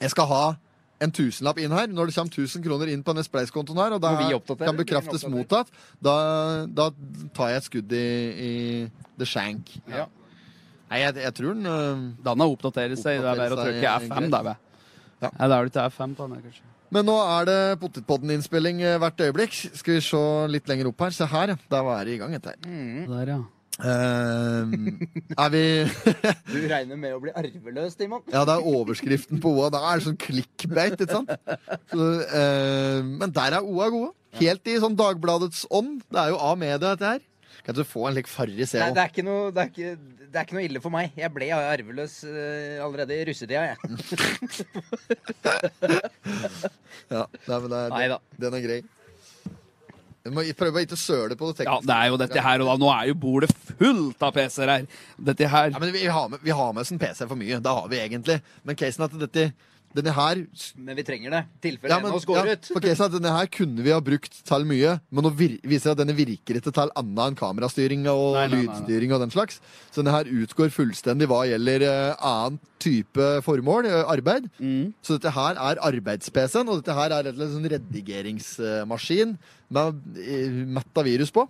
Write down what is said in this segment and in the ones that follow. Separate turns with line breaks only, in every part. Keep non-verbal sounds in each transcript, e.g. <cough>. Jeg skal ha en tusenlapp inn her. Når det kommer 1000 kroner inn på den Spleis-kontoen her, og da
Må vi oppdatere,
kan bekraftes
eller?
mottatt, da, da tar jeg et skudd i, i the shank.
Ja.
Nei, jeg, jeg tror den øh,
Denne oppdaterer seg. Det er bare å
Oppdaterer seg,
trykke F5, da. vet jeg.
Ja.
Nei, det er vel ikke F5 på den, kanskje.
Men nå er det Potetpodden-innspilling eh, hvert øyeblikk. Skal vi se litt lenger opp her. Se her, ja. Der var det i gang, dette her.
Der, ja.
Mm.
Eh, er vi <laughs>
Du regner med å bli arveløs, Timon?
Ja, det er overskriften på OA. Da er det sånn clickbait, ikke sant? Så, eh, men der er OA gode. Helt i sånn Dagbladets ånd. Det er jo A-media, dette her. Kan ikke få en lik farris,
Nei,
jeg
det
òg.
er, ikke noe, det, er ikke, det er ikke noe ille for meg. Jeg ble arveløs eh, allerede i russetida,
Mm.
jeg.
Ja, nei, men det er,
Neida.
Den er grei. Jeg må prøve å ikke søle på det
Ja,
tekniske.
det er jo dette her, og da, nå er jo bordet fullt av PC-er her. Dette her
Ja, men vi har med, vi har med oss en PC for mye. Det har vi egentlig. Men casen er at dette, denne her
Men vi trenger det. I tilfelle
ja,
ja,
men,
NHO går
ja,
ut.
for casen er at denne her kunne vi ha brukt til mye, men nå vir viser det at denne virker ikke til annet enn kamerastyring og
Nei, nei, nei, nei.
lydstyring og den slags. Så denne her utgår fullstendig hva gjelder eh, annen type formål, eh, arbeid. Så dette her er arbeids-PC-en, og dette her er rett og slett en sånn redigeringsmaskin med eh, mett av virus på.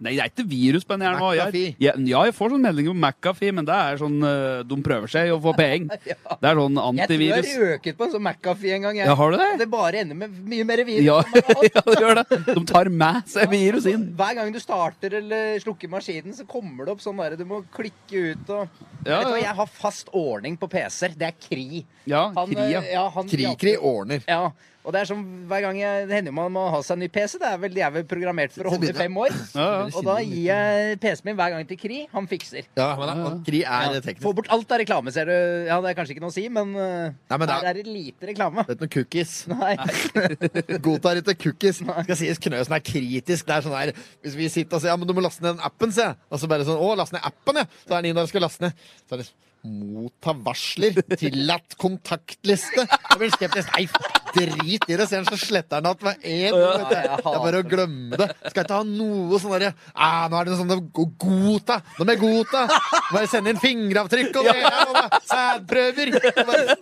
Nei, det er ikke virus på den her nå. Jeg,
McAfee.
ja, ja, jeg får sånn meldinger om McAfee, men det er sånn eh, De prøver seg å få penger. Det er sånn
Jeg tror
antivirus.
jeg røket på en sånn McAfee en gang. Jeg.
Ja, har du det?
Det bare ender med mye mer virus.
Ja, <laughs>
enn man har hatt.
ja, det gjør det. De tar med seg virus inn.
Hver gang du starter eller slukker maskinen, så kommer det opp sånn der du må klikke ut og
Ja,
Vet du hva,
ja.
jeg har fast ordning på PC-er. Det er Kri.
Ja,
Han,
Kri, ja.
eh, ja, han-
Kri-kri ordner.
Ja, og det er som hver gang jeg, det hender man må ha seg en ny PC. Det er vel, de er vel programmert for å holde i fem
<laughs>
år.
Ja, ja.
Og da gir jeg PC-en min hver gang til Kri. Han fikser.
Ja, men da, Kri er
Ja.
teknisk.
Få bort alt av reklame, ser du. Ja, det er kanskje ikke noe å si, men eh,
Nei, men det er-
her er det lite
<laughs>
reklame.
Det er ikke noe cookies.
Nei. <laughs>
Godtar ikke cookies. Skal sies Knøsen er kritisk. Det er sånn her, Hvis vi sitter og sier ja, men du må laste ned den appen, sier jeg. Og så bare sånn, å, laste ned appen, ja. Så er den inn der og skal laste ned. Så er det motta varsler, tillatt kontaktliste. Jeg blir skeptisk. Nei, drit i det, sier han, så sletter han at med én. vet du.
Ja, jeg
Det er bare å glemme det. Skal ikke ha noe sånn derre ah, Nå er det noe sånn go- Godta! Nå må jeg godta! Nå Bare sende inn fingeravtrykk og det her, og da sædprøver! Og bare-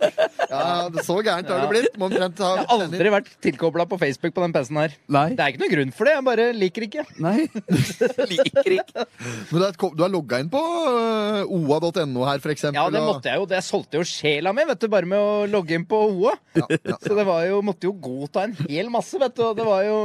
Ja, det er så gærent har det blitt. Må omtrent ha
Jeg har aldri vært tilkobla på Facebook på den PC-en her.
Nei.
Det er ikke noen grunn for det. Jeg bare liker ikke.
Nei. Liker ikke.
Men det er et kom- du er logga inn på øh, oa.no her, for eksempel.
Ja, det
og-
måtte jeg jo. Det solgte jo sjela mi, vet du, bare med å logge inn på OA. Så det var jo, måtte jo godta en hel masse, vet du. Og det var jo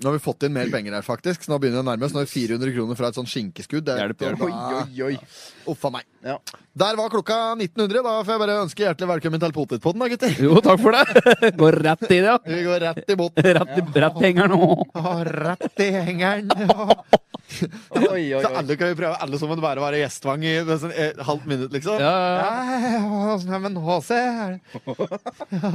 Nå har vi fått inn mer penger her, faktisk. Så nå begynner det å nærme oss. Nå er det 400 kroner fra et sånt skinkeskudd. Det
Hjelp, hjelp.
Oi, oi, oi.
Uff a meg.
Ja.
Der var klokka 1900. Da får jeg bare ønske hjertelig velkommen til Potetpodden, da, gutter.
Jo, takk for det. Går rett i det, ja.
Vi går rett i båten.
<laughs>
Rett, i- rett penger nå.
Å, Rett i hengeren.
Oi, oi,
Så
oi.
alle kan jo prøve alle sammen bare å være gjestvang i det er sånn, eh, halvt minutt, liksom.
Ja, ja,
Ja, ja, men HC er det.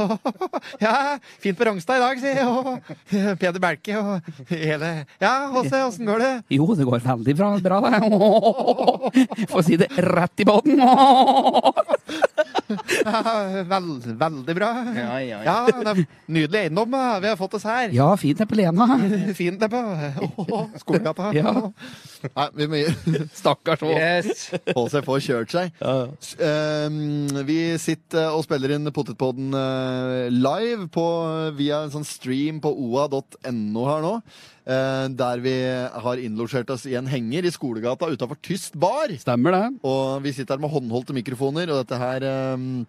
Ja, fint på Rongstad i dag, sier jeg. Og Peder Belke og hele Ja, HC, åssen går det?
Jo, det går veldig bra, bra det. <laughs> Få si det rett i båten. <laughs> Åh.
Ja, vel, veldig bra.
Ja, ja, ja.
Ja, det er nydelig eiendom da. vi har fått oss her.
Ja, fint det på Lena.
Fint det på Åh, Skolegata.
Ja.
Nei, vi må
Stakkars Ås.
Yes.
HC får kjørt seg.
Ja, ja.
S- ehm, vi sitter og spiller inn Potetpodden eh, live på, via en sånn stream på oa.no her nå. eh, der vi har innlosjert oss i en henger i skolegata utafor Tyst bar.
Stemmer det.
Og vi sitter her med håndholdte mikrofoner, og dette her ehm,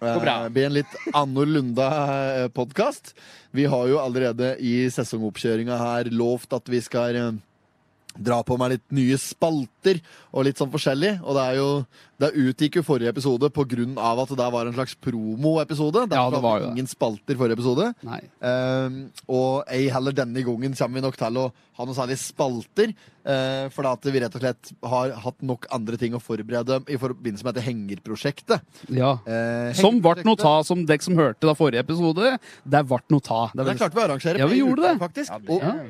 Går bra.
eh, blir en litt annorlunda podkast. Vi har jo allerede i sesongoppkjøringa her lovt at vi skal eh, dra på med litt nye spalter og litt sånn forskjellig. Og det er jo Det utgikk jo forrige episode på grunn av at det der var en slags promoepisode.
Ja,
Derfor
det var
hadde
jo det.
ingen spalter forrige episode.
Nei.
Ehm, og ei heller denne gangen kommer vi nok til å ha noe særlig spalter. eh, for at vi rett og slett har hatt nok andre ting å forberede i forbindelse med dette hengerprosjektet.
Ja.
Eh,
Som ble
hengerprosjektet-
noe ta, som dere som hørte da forrige episode. Det ble noe ta. Det
Det
var-
klarte vi å arrangere.
Ja, vi
på
gjorde det.
Julaften, Faktisk.
Ja.
Og,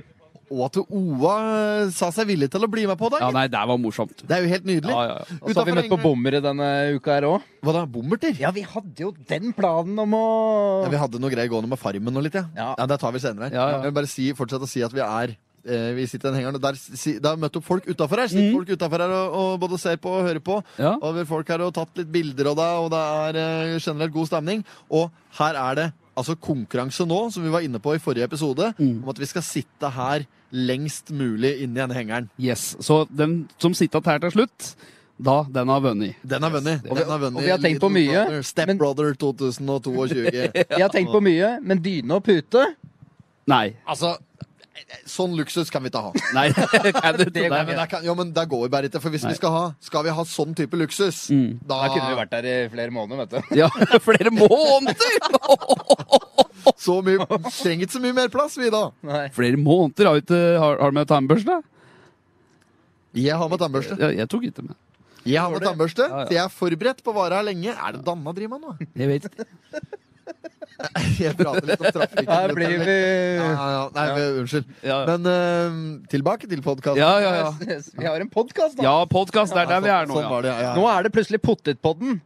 og at OA eh, sa seg villig til å bli med på det.
ja, nei, det var morsomt.
Det er jo helt nydelig.
Ja, ja, ja.
Og så har vi møtt på bommere denne uka her òg.
Hva da? Bommerter?
Ja, vi hadde jo den planen om å
Ja, vi hadde noe greier gående med Farmen og litt, ja.
Ja.
ja det tar vi senere.
Ja, ja.
Jeg vil bare si, fortsette å si at vi er eh, vi sitter i den hengeren, og der, si- det har møtt opp folk utafor her.
Mm.
Sitter folk utenfor her og, og både ser på og hører på.
Ja.
Og vi har folk her og tatt litt bilder, og det, og det er eh, generelt god stemning. Og her er det altså konkurranse nå, som vi var inne på i forrige episode,
Mm.
om at vi skal sitte her lengst mulig inni den hengeren.
Yes. Så den som sitter her til slutt, da den har vunnet.
Den har vunnet.
Og vi-
Den har vunnet
og vi har tenkt på
Little
mye,
Brother,
men-
Stepbrother 2022.
<laughs> Jeg har tenkt på mye, men dyne og pute
Nei.
altså, sånn luksus kan vi ikke ha.
<laughs> Nei. Kan du,
Nei,
Det kan
nei.
men det kan, jo, men det går jo bare ikke, for hvis
Nei.
vi skal ha Skal vi ha sånn type luksus, da
Da kunne vi vært der i flere måneder, vet du.
Ja, <laughs> flere måneder!
så mye, trenger ikke så mye mer plass, vi da.
<laughs> Nei.
Flere måneder har, vi ikke, har, har du med tannbørste?
Jeg har med tannbørste.
Ja, jeg tok ikke med.
Jeg har med tannbørste,
Ja, ja.
så jeg er forberedt på å vare her lenge. Er det Danna driver med nå?
Jeg vet ikke.
Jeg prater litt om trafikken.
Her blir vi
ja, ja, ja. Nei, men, unnskyld.
Ja, ja.
Men eh, tilbake til podkasten.
Ja, ja, ja.
Vi har en podkast, da.
ja podkast. Det er der vi er nå,
Sånn
ja.
var det, ja.
Nå
ja.
er det plutselig Pottetpodden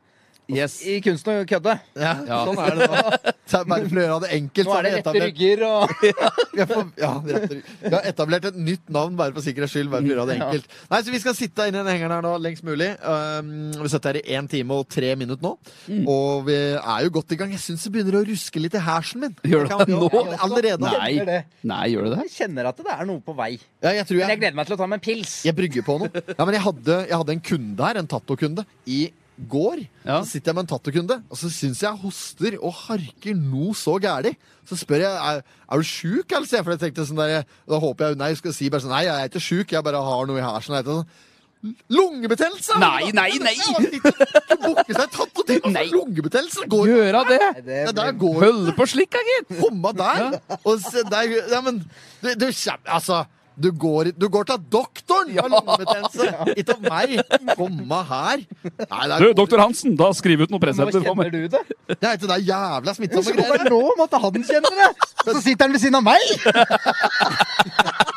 Yes.
i Kunsten å kødde.
ja,
Ja.
Sånn er det nå. <laughs> Så er det bare for å gjøre det enkelt.
Nå
så
er det
har
rette
vi etablert-
rygger <laughs> og
Vi har, for, ja, rette rygg. vi har etablert et nytt navn bare for sikkerhets skyld. Bare for å gjøre det
Ja.
enkelt Nei, så Vi skal sitte inne i den hengeren her nå lengst mulig. Um, vi sitter her i én time og tre minutter nå.
Mm.
Og vi er jo godt i gang. Jeg syns det begynner å ruske litt i hersen min.
Gjør det
Kan vi jo-
nå?
Allerede.
Nei.
Kjenner det.
Nei, gjør du det?
Jeg kjenner at det er noe på vei.
Ja, jeg tror
Men jeg
jeg,
gleder meg til å ta meg en pils.
jeg brygger på noe. Ja, men jeg hadde, jeg hadde en kunde her, en tattokunde, i går.
Ja.
Så sitter jeg med en tattokunde, og så syns jeg hoster og harker noe så gæli. Så spør jeg er, er du sjuk, eller? sier jeg, For jeg tenkte sånn der, da håper jeg hun nei skal si bare sånn Nei, jeg er ikke sjuk, jeg bare har noe i hersen. Jeg heter sånn, Lungebetennelse!
Nei, nei, nei.
Du bukker seg tatt og tenker
Nei.
på lungebetennelse! det Går,
Gjøre det?
Nei, det
ja, der
blir-
går
Holde på slikka, gitt!
komma der! Og se der ja, men, du, du, kjem- altså, du, går, du går til doktoren med lungebetennelse! Ikke av meg! Komma her! Nei, det
Du,
er,
doktor Hansen, da skriv ut noen
Nå
presenter for
kjenner
meg.
du det.
det er ikke det jævla
Så
smittsomme
kommer
greier.
det nå om at han kjenner <laughs> det! Så sitter han ved siden av meg!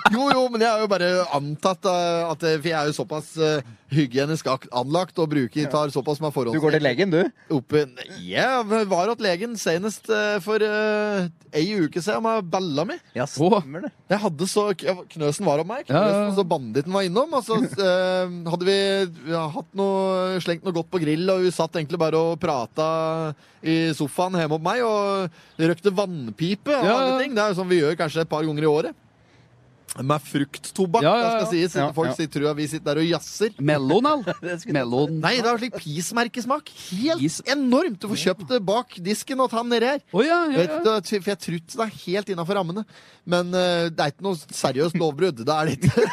Jo, jo, men jeg har jo bare antatt eh, at eh, For jeg er jo såpass eh, hygienisk ak- anlagt og bruker tar såpass med
Du går til
forholdsvis
legen, du.
oppe Jeg var hos legen senest eh, for eh, ei uke siden med bella mi.
Ja,
stemmer
det.
Jeg hadde så, Knøsen var om meg,
Ja, ja, ja.
Knøsen, så banditten var innom. Og så eh, hadde vi, vi har hatt noe, slengt noe godt på grill, og hun satt egentlig bare og prata i sofaen hjemme hos meg. Og røkte vannpipe og
Ja, ja.
alle ting. Det er jo sånn vi gjør kanskje et par ganger i året. Med frukttobakk,
Ja, ja, ja.
det skal sies.
Ja,
Folk
ja.
sier, tror jeg vi sitter der og jazzer.
Mellon, <laughs> all.
Det skulle-
Mellon.
Nei, det har slik pismerkesmak. Helt
Pis-
enormt! Du får kjøpt det bak disken og ta den nedi her.
Å ja, ja,
Vet
ja.
du, for jeg tror ikke det er helt innafor rammene. Men eh, det er ikke noe seriøst lovbrudd. Det er <laughs> det ikke.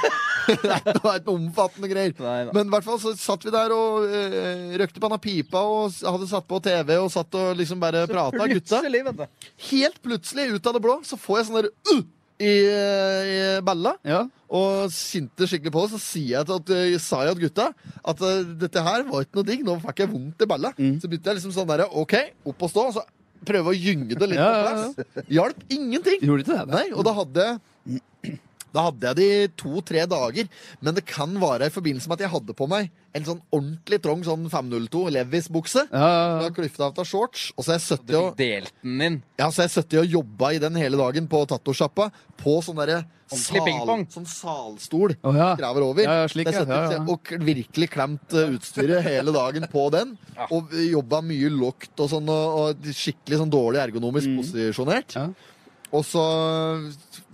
det er ikke noe, det er ikke noe omfattende greier.
Nei da.
Men i hvert fall så satt vi der og eh, røkte på denne pipa og s- hadde satt på TV og satt og liksom bare prata, gutta.
Plutselig, vet du.
Helt plutselig, ut av det blå, så får jeg sånn der uh, i, eh, i balla.
ja.
Og sinte skikkelig på det, så sier jeg til at, eh, sa jeg til gutta at eh, dette her var ikke noe digg. Nå fikk jeg vondt i balla.
Mm.
Så begynte jeg liksom sånn der, OK, opp og stå. og Så prøve å gynge det litt
Ja,
på
ja, ja.
plass. Hjalp ingenting.
Gjorde ikke det? da?
Nei, og da hadde jeg da hadde jeg det i to-tre dager, men det kan være i forbindelse med at jeg hadde på meg en sånn ordentlig trang sånn 502 Levis-bukse.
Ja,
Jeg
ja,
har klyfta av til shorts, og så er jeg
Du
70 og
fikk delt den inn.
ja, så jeg satt og jobba i den hele dagen på tattosjappa. På sånn derre
Ordentlig
sal,
pingpong.
sånn salstol.
Å, ja.
<laughs> Graver over.
Ja, ja, slik,
Så jeg
ja.
satt
Ja, ja.
Og k- virkelig klemt eh, utstyret hele dagen på den.
Ja.
Og eh, jobba mye lågt og sånn, og, og skikkelig sånn dårlig ergonomisk posisjonert.
Ja.
Og så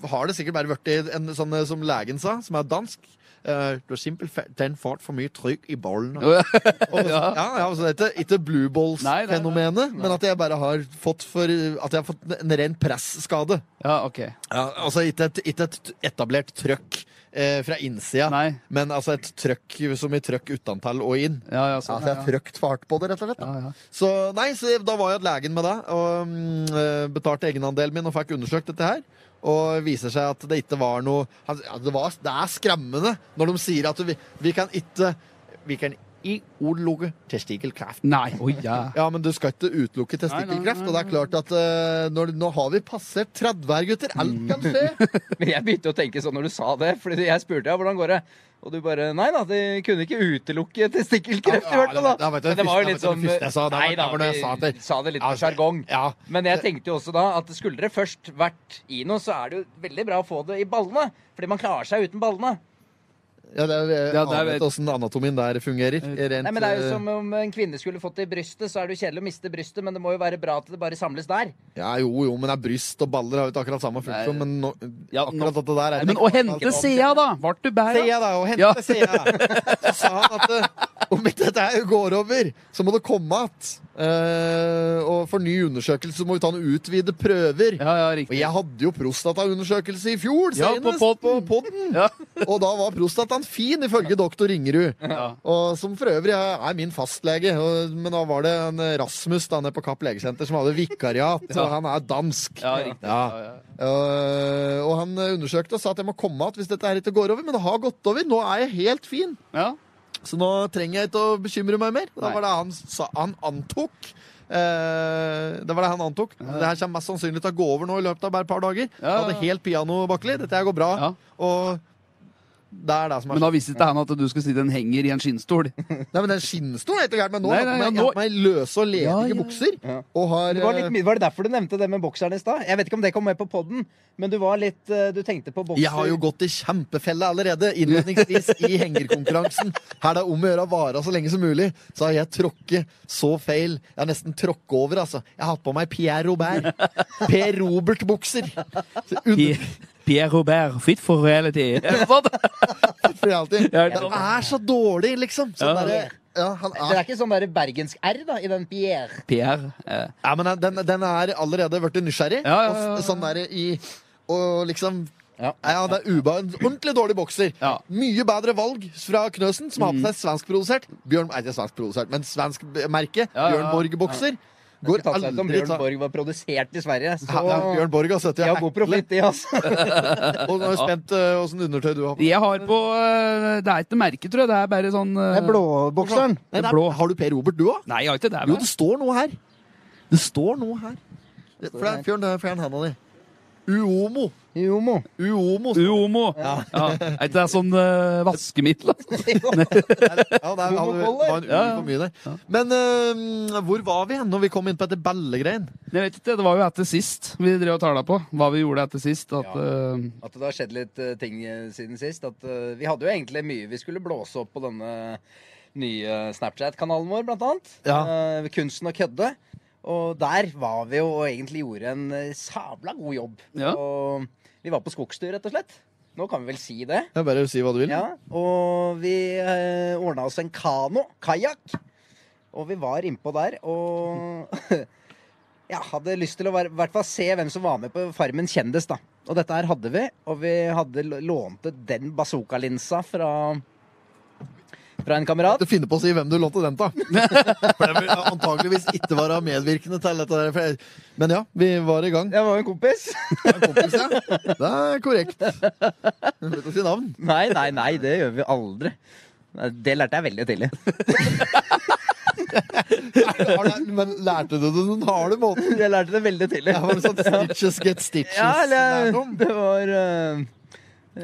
har det sikkert bare blitt en sånn eh, som legen sa, som er dansk. eh, du har simpelthen fått for mye trykk i bollen.
<laughs> Ja.
Og, ja.
Ja.
Ja, altså, det er ikke- ikke blue
Nei, nei, nei.
balls-fenomenet, men at jeg bare har fått, for, at jeg har fått en ren pressskade.
ja, ok.
Ja, altså ikke et, ikke et etablert trøkk eh, fra innsida,
Nei.
men altså et trøkk som i trøkk utantall og inn.
Ja, ja,
Ja,
sånn.
så jeg
Ja,
trøkt for hardt på det, rett og slett. da.
ja. ja.
Så nei, så da var jeg hos legen med det, og mm, eh, betalte egenandelen min og fikk undersøkt dette her. Og viser seg at det ikke var altså, noe han- ja, det, var, det er skremmende når de sier at vi, vi kan ikke Vi kan i ordet testikkelkreft.
Nei. Oi, ja.
Ja, men du skal ikke utelukke testikkelkreft. Og det er klart at eh, når, nå har vi passert 30 her, gutter. Alt kan skje.
Men <laughs> jeg begynte å tenke sånn når du sa det, Fordi jeg spurte ja, hvordan går det. Og du bare Nei da, de kunne ikke utelukke testikkelkreft
<laughs>
i
Ja,
hvert fall, da.
ja, vet du,
Men det var jo
første-
litt sånn
det første jeg sa, det var-
Nei da,
det var det jeg sa
vi
til- Altså,
sa det litt
Ja,
på sjargong.
Ja.
Men jeg tenkte jo også da at skulle dere først vært i noe, så er det jo veldig bra å få det i ballene. Fordi man klarer seg uten ballene.
Ja, det er,
Ja, det
jeg
er-
vet åssen anatomien der fungerer. Rent,
Nei, men Det er jo
eh,
som om en kvinne skulle fått det i brystet, så er det jo kjedelig å miste brystet, men det må jo være bra at det bare samles der.
eh, Ja, jo, jo, men det er bryst og baller har jo ikke akkurat samme funksjon, men nå,
Ja,
akkurat
nå-
dette der er
Men å hente Sea, da! Vart du bæra?
Sea, da, og hente
Ja.
Sea. Så sa han at eh, om ikke dette her går over, så må det komme att. Eh, og for ny undersøkelse så må vi ta noen utvide prøver.
Ja, ja,
Og
riktig.
jeg hadde jo prostataundersøkelse i fjor,
Ja, på
senest.
podden. Ja.
og da var prostataen fin, ifølge doktor Ringerud.
Ja.
Og som for øvrig er er min fastlege. Og, men da var det en Rasmus da nede på Kapp legesenter som hadde vikariat,
Ja.
og han er dansk.
Ja, riktig.
Ja.
Ja, ja.
Øh, og han undersøkte og sa at jeg må komme igjen hvis dette her ikke går over. Men det har gått over. Nå er jeg helt fin.
Ja.
Så nå trenger jeg ikke å bekymre meg mer. Da
Nei.
var det han, sa, han antok. Eh, det var det han antok. Det her kommer mest sannsynlig til å gå over nå i løpet av bare et par dager. Ja.
Ja.
Hadde helt piano, Bakkeli. Dette her går bra.
Ja.
Og det er det som er
Men da visste ikke han at du skulle sitte en henger i en skinnstol.
Nei, men den skinnstolen er ikke gærent, men nå
Nei,
har
nei,
jeg
ja,
hatt
nå-
meg- hatt meg løse og ledige
Ja, ja, ja.
bukser.
Ja.
Og har
Det var, litt,
eh,
mye- var det derfor du nevnte det med bokseren i stad? Jeg vet ikke om det kom med på poden, men du var litt eh, Du tenkte på bokser.
Jeg har jo gått i kjempefelle allerede, innledningsvis
<laughs>
i hengerkonkurransen. Her det er om å gjøre å vare så lenge som mulig, så har jeg tråkket så feil. Jeg har nesten tråkket over, altså. Jeg har hatt på meg Pierre Robert. Per Robert-bukser. Så under-
<laughs> Pierre Robert, fit for reality. <laughs>
for alltid.
Ja,
Han er så dårlig, liksom. Sånn
Ja.
derre- ja, han
Det
er.
er ikke sånn der bergensk R da, i den Pierre.
Pierre. Eh.
ja, men den, den er allerede blitt nysgjerrig.
Ja, ja, ja, ja.
Og sånn derre i Og liksom
Ja.
Ja, det er uba en ordentlig dårlig bokser.
Ja. Mm.
Mye bedre valg fra Knøsen, som har på seg svenskprodusert Bjørn, nei, ikke svenskprodusert, men svensk b- merke.
Ja, ja,
Bjørn
ja.
Borg-bokser. Går
Skulle tatt seg ut om
aldri
Bjørn
ta
Borg var produsert i Sverige,
ja, ja,
så
Bjørn Borg har sett
de
det.
har god profitt, de, altså.
Og nå er jeg spent på åssen undertøy du har på.
Jeg har på eh, Det er ikke merke, tror jeg. Det er bare sånn eh,
blåbokseren.
Nei, det er-
blå.
Har du Per Robert, du òg?
Nei, jeg har ikke det.
Jo,
vel?
det står noe her. Det står noe her. Det- For det er
her.
fjern, fjern handa di. Uomo.
Jomo. <laughs>
Uomo.
Uomo. Ja. Er ikke det sånn eh, vaskemiddel? altså?
<laughs> Ja, det er, hadde, det
Homokoller.
var en U
Ja, ja.
for mye der. Men øhm, hvor var vi hen når vi kom inn på dette ballegreien?
Jeg vet ikke, Det var jo etter sist vi drev og tala på. Hva vi gjorde etter sist. At,
Ja.
eh,
At det har skjedd litt eh, ting eh, siden sist. At eh, vi hadde jo egentlig mye vi skulle blåse opp på denne nye Snapchat-kanalen vår, blant annet.
Ja.
Eh, kunsten å kødde. Og der var vi jo og egentlig gjorde en eh, sabla god jobb.
Ja.
Og vi var på skogstur, rett og slett. Nå kan vi vel si det.
Jeg bare si hva du vil.
Ja, og vi eh, ordna oss en kano, kajakk. Og vi var innpå der, og <laughs> Jeg hadde lyst til å være, i hvert fall se hvem som var med på Farmen kjendis, da. Og dette her hadde vi, og vi hadde l- lånte den bazookalinsa fra fra en kamerat.
Du finner på å si hvem du lånte den
<laughs>
til. For det vil antageligvis ikke være medvirkende til dette. Der. for jeg- Men ja, vi var i gang.
Det var jo en kompis.
Det er kompis, ja. Det er korrekt. Du vet å si navn.
<laughs> Nei, nei, nei, det gjør vi aldri. Det lærte jeg veldig tidlig.
Men lærte du det den harde måten?
<laughs> Jeg lærte det veldig tidlig.
Det var litt sånn stitches get stitches.
Ja, eller,
lærdom.
det var eh,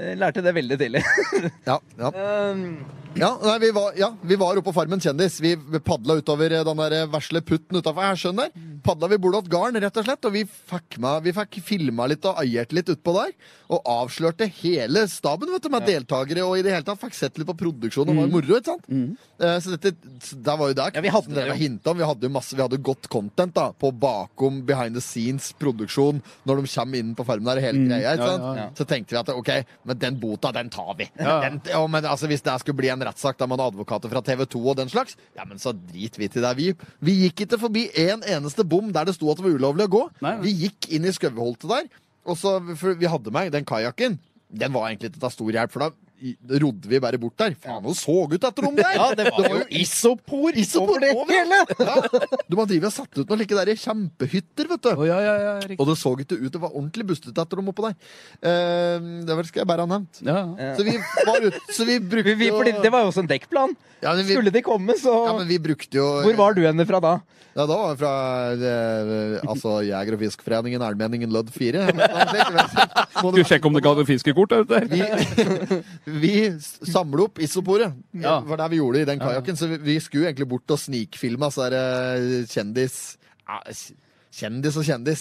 Jeg lærte det veldig tidlig. <laughs>
ja, ja.
Um,
Ja, nei, vi var, ja, vi var oppe på Farmen kjendis. Vi padla utover eh, den der vesle putten utafor Hersjøen der. Padla vi bordet åt garn, rett og slett, og vi fikk, med, vi fikk filma litt og eiert litt utpå der. Og avslørte hele staben vet du, med deltakere, og i det hele tatt fikk sett litt på produksjonen. Det var moro, ikke sant? Eh, Så dette, så der var jo der.
Mm. Ja, vi hadde det
det
jo.
var hintet om. Vi hadde jo masse, vi hadde jo godt content da, på bakom behind the scenes produksjon når de kommer inn på Farmen der og
Mm.
hele greia.
Ja,
ikke sant?
ja, ja.
Så tenkte vi at ok, men den bota, den tar vi.
Ja.
Den, ja, men altså, hvis det skulle bli en rettssak der man har advokater fra TV 2 og den slags, ja, men så drit vi til det. Vi, vi gikk ikke forbi en eneste bom der det sto at det var ulovlig å gå.
Nei, nei.
Vi gikk inn i skauholtet der, og så, for vi hadde meg den kajakken. Den var egentlig ikke til stor hjelp, for da i- rodde vi bare bort der. Faen, nå så ut et rom der!
Ja, det var jo isopor,
isopor
over det
overalt.
hele!
Ja. <laughs> Du må drive og sette ut noen like der kjempehytter, vet du.
Å, ja, ja, ja, riktig.
Og det så ikke ut, det var ordentlig bustete etter dem oppå der. Eh, det var- skal jeg bare ha nevnt.
Ja. ja.
Så vi var ute, så vi brukte
<laughs> Vi, vi, fordi
jo
det var jo også en dekkplan.
ja, men vi,
Skulle de komme, så
ja, men vi brukte jo
Hvor var du henne fra da?
Ja, da var jeg fra eh, altså, Jeger- og fiskforeningen Almenningen Lødd
<laughs>
4. Må
Skal
du-
vi sjekke om det ga deg fiskekort? er det der?
Vi, <laughs> vi samla opp isoporet. Det
Ja.
var det vi gjorde i den kajakken. Så vi, vi skulle jo egentlig bort og snikfilme så er det kjendis ja, Kjendis og <laughs> kjendis.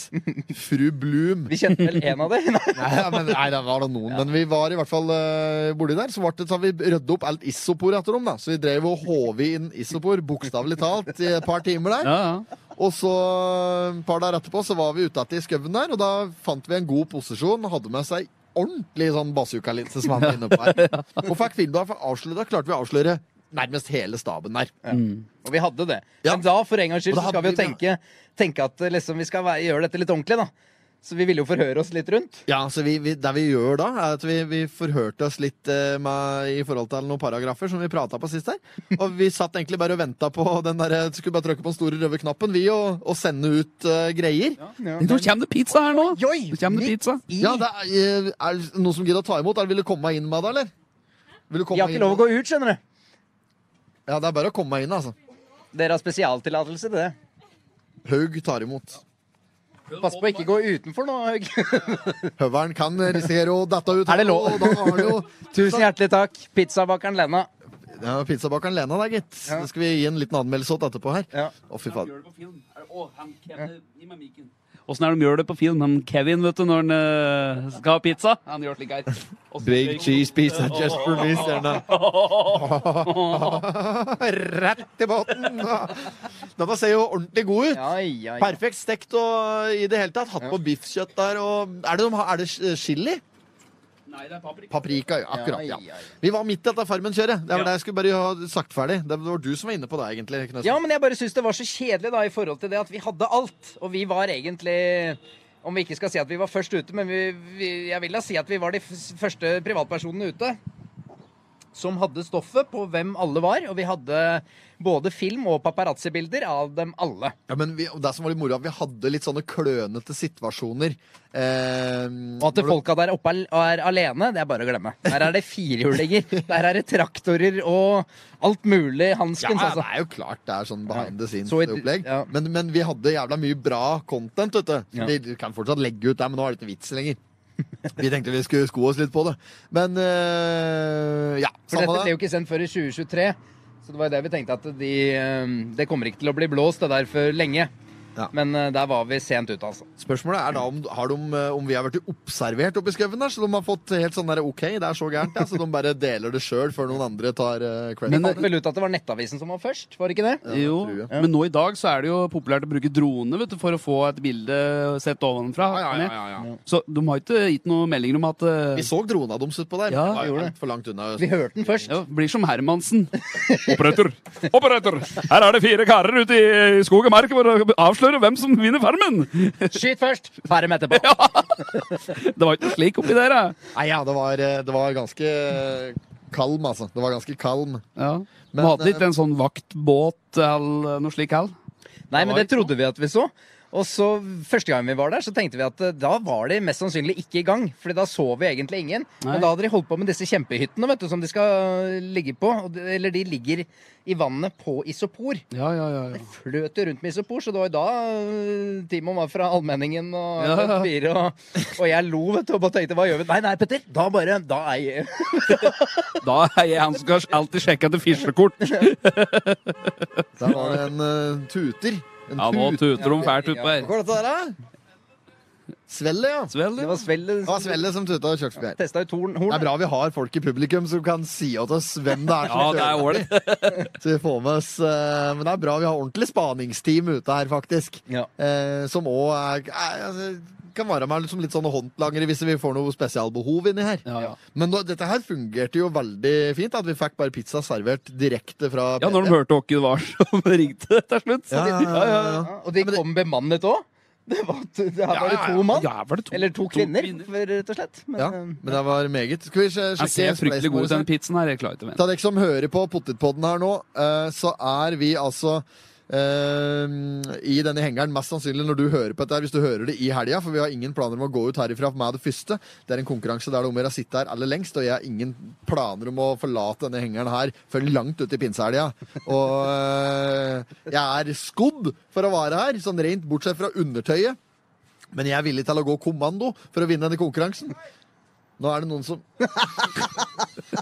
Fru Bloom.
Vi kjente vel en av dem? <laughs> Nei.
Nei, men, nei, det var da noen. Men vi var i hvert fall uh, borti der. Så, ble det, så har vi rydda opp alt isoporet etter dem. da Så vi drev og håv inn isopor, bokstavelig talt, i et par timer der.
Ja, ja.
Og så et par dager etterpå så var vi ute etter i skauen der, og da fant vi en god posisjon. Hadde med seg ordentlig sånn bazookalinse som han var inne på
<laughs>
her. Og fikk filma, for avslø- da klarte vi å avsløre nærmest hele staben der.
Og vi hadde det.
Ja.
Men da, for en gangs
Og
skyld,
da
så skal vi
hadde
jo
vi-
tenke, tenke at eh, liksom, vi skal være, gjøre dette litt ordentlig, da. Så vi ville jo forhøre oss litt rundt.
Ja, så vi, vi, Det vi gjør da, er at vi, vi forhørte oss litt eh, med, i forhold til noen paragrafer som vi prata på sist her. Og vi satt egentlig bare og venta på den der, eh, skulle bare trykke på den store røde knappen, vi, og, og sende ut eh, greier.
Nå kommer det pizza her nå!
Oi,
Nå kommer det pizza.
I,
Ja, det er, eh, er det noen som gidder å ta imot? Er, vil du komme meg inn med det, eller? Vil du komme
jeg har
meg
ikke
inn
lov å
med det?
gå ut, skjønner du.
Ja, det er bare å komme meg inn, altså.
Dere har spesialtillatelse til det.
Haug tar imot.
Pass på å ikke gå utenfor nå, Haug.
<laughs> Høveren kan risikere å dette ut.
Er det lov?
Og da har det jo
Tusen hjertelig takk. Pizzabakeren Lena.
ja, Pizzabakeren Lena der, gitt.
Ja.
Det skal vi gi en liten anmeldelse åt etterpå her.
Ja.
Å, fy faen.
Åssen er det de gjør det på film? Han Kevin, vet du, når han eh, skal ha pizza? Han gjør slik her. Åssen-
pizza just for me, Serna. <laughs> Rett i båten. Denne ser jo ordentlig god ut.
Ja, ja, ja.
Perfekt stekt og i det hele tatt. Hatt på biffkjøtt der og Er det, de har- er det chili?
Nei, det er paprika.
Paprika, ja, akkurat.
Ja,
Ja.
ja, ja.
Vi var midt i dette Farmen-kjøret. Det var
Ja.
det jeg skulle bare ha sagt ferdig. Det var du som var inne på det, egentlig. Knøsen.
Ja, men jeg bare syns det var så kjedelig da i forhold til det at vi hadde alt. Og vi var egentlig Om vi ikke skal si at vi var først ute, men vi, vi, jeg vil da si at vi var de f første privatpersonene ute som hadde stoffet på hvem alle var. Og vi hadde både film- og paparazzi-bilder av dem alle.
Ja, men vi, og det som var litt moro, at vi hadde litt sånne klønete situasjoner. Eh,
Og at folka der oppe al- er alene, det er bare å glemme. Der er det firehjulinger, der er det traktorer og alt mulig
ja,
hanskens,
det
altså.
er jo klart det er sånn behind the
Så i-
scenes-opplegg.
ja.
Men, men vi hadde jævla mye bra content, vet du.
Ja.
Vi kan fortsatt legge ut der, men nå er det ikke vits lenger. Vi tenkte vi skulle sko oss litt på det. Men eh, ja,
For dette
samme
ble
det.
jo ikke sendt før i 2023. Så det var jo det vi tenkte at de, eh, det kommer ikke til å bli blåst det der for lenge.
Ja.
Men eh, der var vi sent ute, altså.
Spørsmålet er da om, har de, eh, om vi har vært observert oppi skauen der, så de har fått helt sånn der OK, det er så gærent, ja. Så de bare deler det sjøl før noen andre tar uh, credit.
Vi fant vel ut at det var Nettavisen som var først, var det ikke det?
Jo,
tror jeg.
men nå i dag så er det jo populært å bruke drone vet du, for å få et bilde sett ovenfra.
eh,
Så de har ikke gitt noen meldinger om at eh,
vi så drona deres utpå der.
Ja,
men det
gjorde
var
det.
altfor langt unna.
Vi hørte den først.
ja, blir som Hermansen. <laughs> Operator! Operator! Her er det fire karer ute i skog og mark for å avsløre hvem som vinner Farmen!
Skyt først, ferm etterpå.
Det var ikke slik oppi der, eh. da.
Nei, ja, det var, eh, det var ganske kalm, altså. Det var ganske kalm.
Ja. De
Men,
hadde ikke en sånn vaktbåt eller noe slik heller.
Nei, men det trodde vi at vi så. Og så Første gang vi var der, så tenkte vi at eh, da var de mest sannsynlig ikke i gang. Fordi da så vi egentlig ingen.
Nei.
Men da hadde de holdt på med disse kjempehyttene vet du, som de skal eh, ligge på. og de- Eller de ligger i vannet på isopor.
Ja, ja, ja, ja.
fløt jo rundt med isopor, så det var jo da øh, Timon var fra Allmenningen og
Ja, ja.
fire, og, og jeg lo vet du, og bare tenkte hva gjør vi? Nei, nei, Petter, da bare Da er
<laughs>
jeg
Da er jeg han som skal alltid sjekke etter fislekort.
Der var det en eh, tuter. En
Ja, nå tuter de fælt utpå her.
Hva er dette her, da? Svelle, ja. Det
Svel,
Det
ja.
var Svelle
var Svelle som tuta og kjørte forbi her.
testa ut horn.
Det er
horn.
bra vi har folk i publikum som kan si åt oss hvem det er.
<laughs> Ja,
som
det er
kjører.
ålreit.
Så vi får med oss, eh, Men det er bra vi har ordentlig spaningsteam ute her, faktisk.
Ja.
Eh, som òg er er- altså, kan være med som litt sånne håndlangere hvis vi får noe spesialbehov inni her.
Ja, ja.
Men da, dette her fungerte jo veldig fint, at vi fikk bare pizza servert direkte fra
Ja, når de hørte hvem det var som ringte til slutt.
Ja, ja, ja, ja, ja.
Ja, og de
men det-
kom bemannet òg. Det var, det her var det
Ja, ja,
to mann.
Ja, var det to,
Eller to kvinner, for, rett og slett. Men,
Ja,
eh,
men det var meget. Skal vi sj-
Jeg
sjekke
ser fryktelig god ut,
spleisen
den pizzen her. Jeg klarer ikke å
vår? Ta
vente.
dere som hører på Potetpodden her nå, eh, så er vi altså eh, i denne hengeren, mest sannsynlig når du hører på dette, her, hvis du hører det i helga, for vi har ingen planer om å gå ut herifra med det første. Det er en konkurranse der det er om å gjøre å sitte her aller lengst, og jeg har ingen planer om å forlate denne hengeren her før langt ut i pinsehelga. Og eh, jeg er skodd for å være her, sånn rent bortsett fra undertøyet. Men jeg er villig til å gå kommando for å vinne denne konkurransen. Nå er det noen som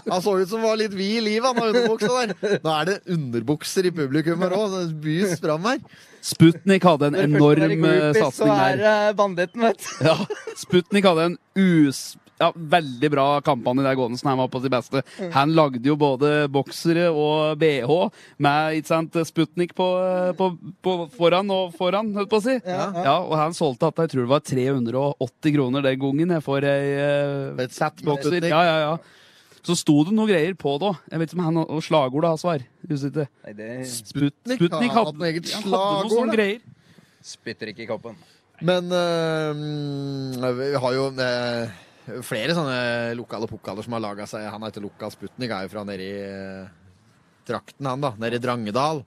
Han så ut som var litt vid i livet, han har underbuksa der. Nå er det underbukser i publikum her òg. Det bys fram her.
Sputnik hadde en
når først man er
enorm eh,
groupie,
satsing
Så
der.
er eh, banditten, vet du.
<laughs> Ja, Sputnik hadde en us... Ja, veldig bra kampanje der gående som han var på sitt beste.
Mm.
Han lagde jo både boksere og BH med ikke sant, Sputnik på, eh, på, på foran og foran, holdt på å si.
Ja, ja.
Ja, og han solgte at jeg tror det var 380 kroner den gangen jeg får ei eh,
Et sett med
bokser.
Sputnik.
Ja, ja, ja. Så sto det noen greier på det òg. Jeg vet ikke om han og slagordet hans var. Usikker.
Nei, det
Sput,
Sputnik
Sputnik
har
hadde,
hatt noe eget
han hadde noen
slagord, da.
sånne greier.
spytter ikke i koppen.
Men eh, vi har jo eh, flere sånne lokale pokaler som har laga seg. Han heter Lukas Sputnik, er jo fra nede i eh, trakten, han, da. Nede i Drangedal.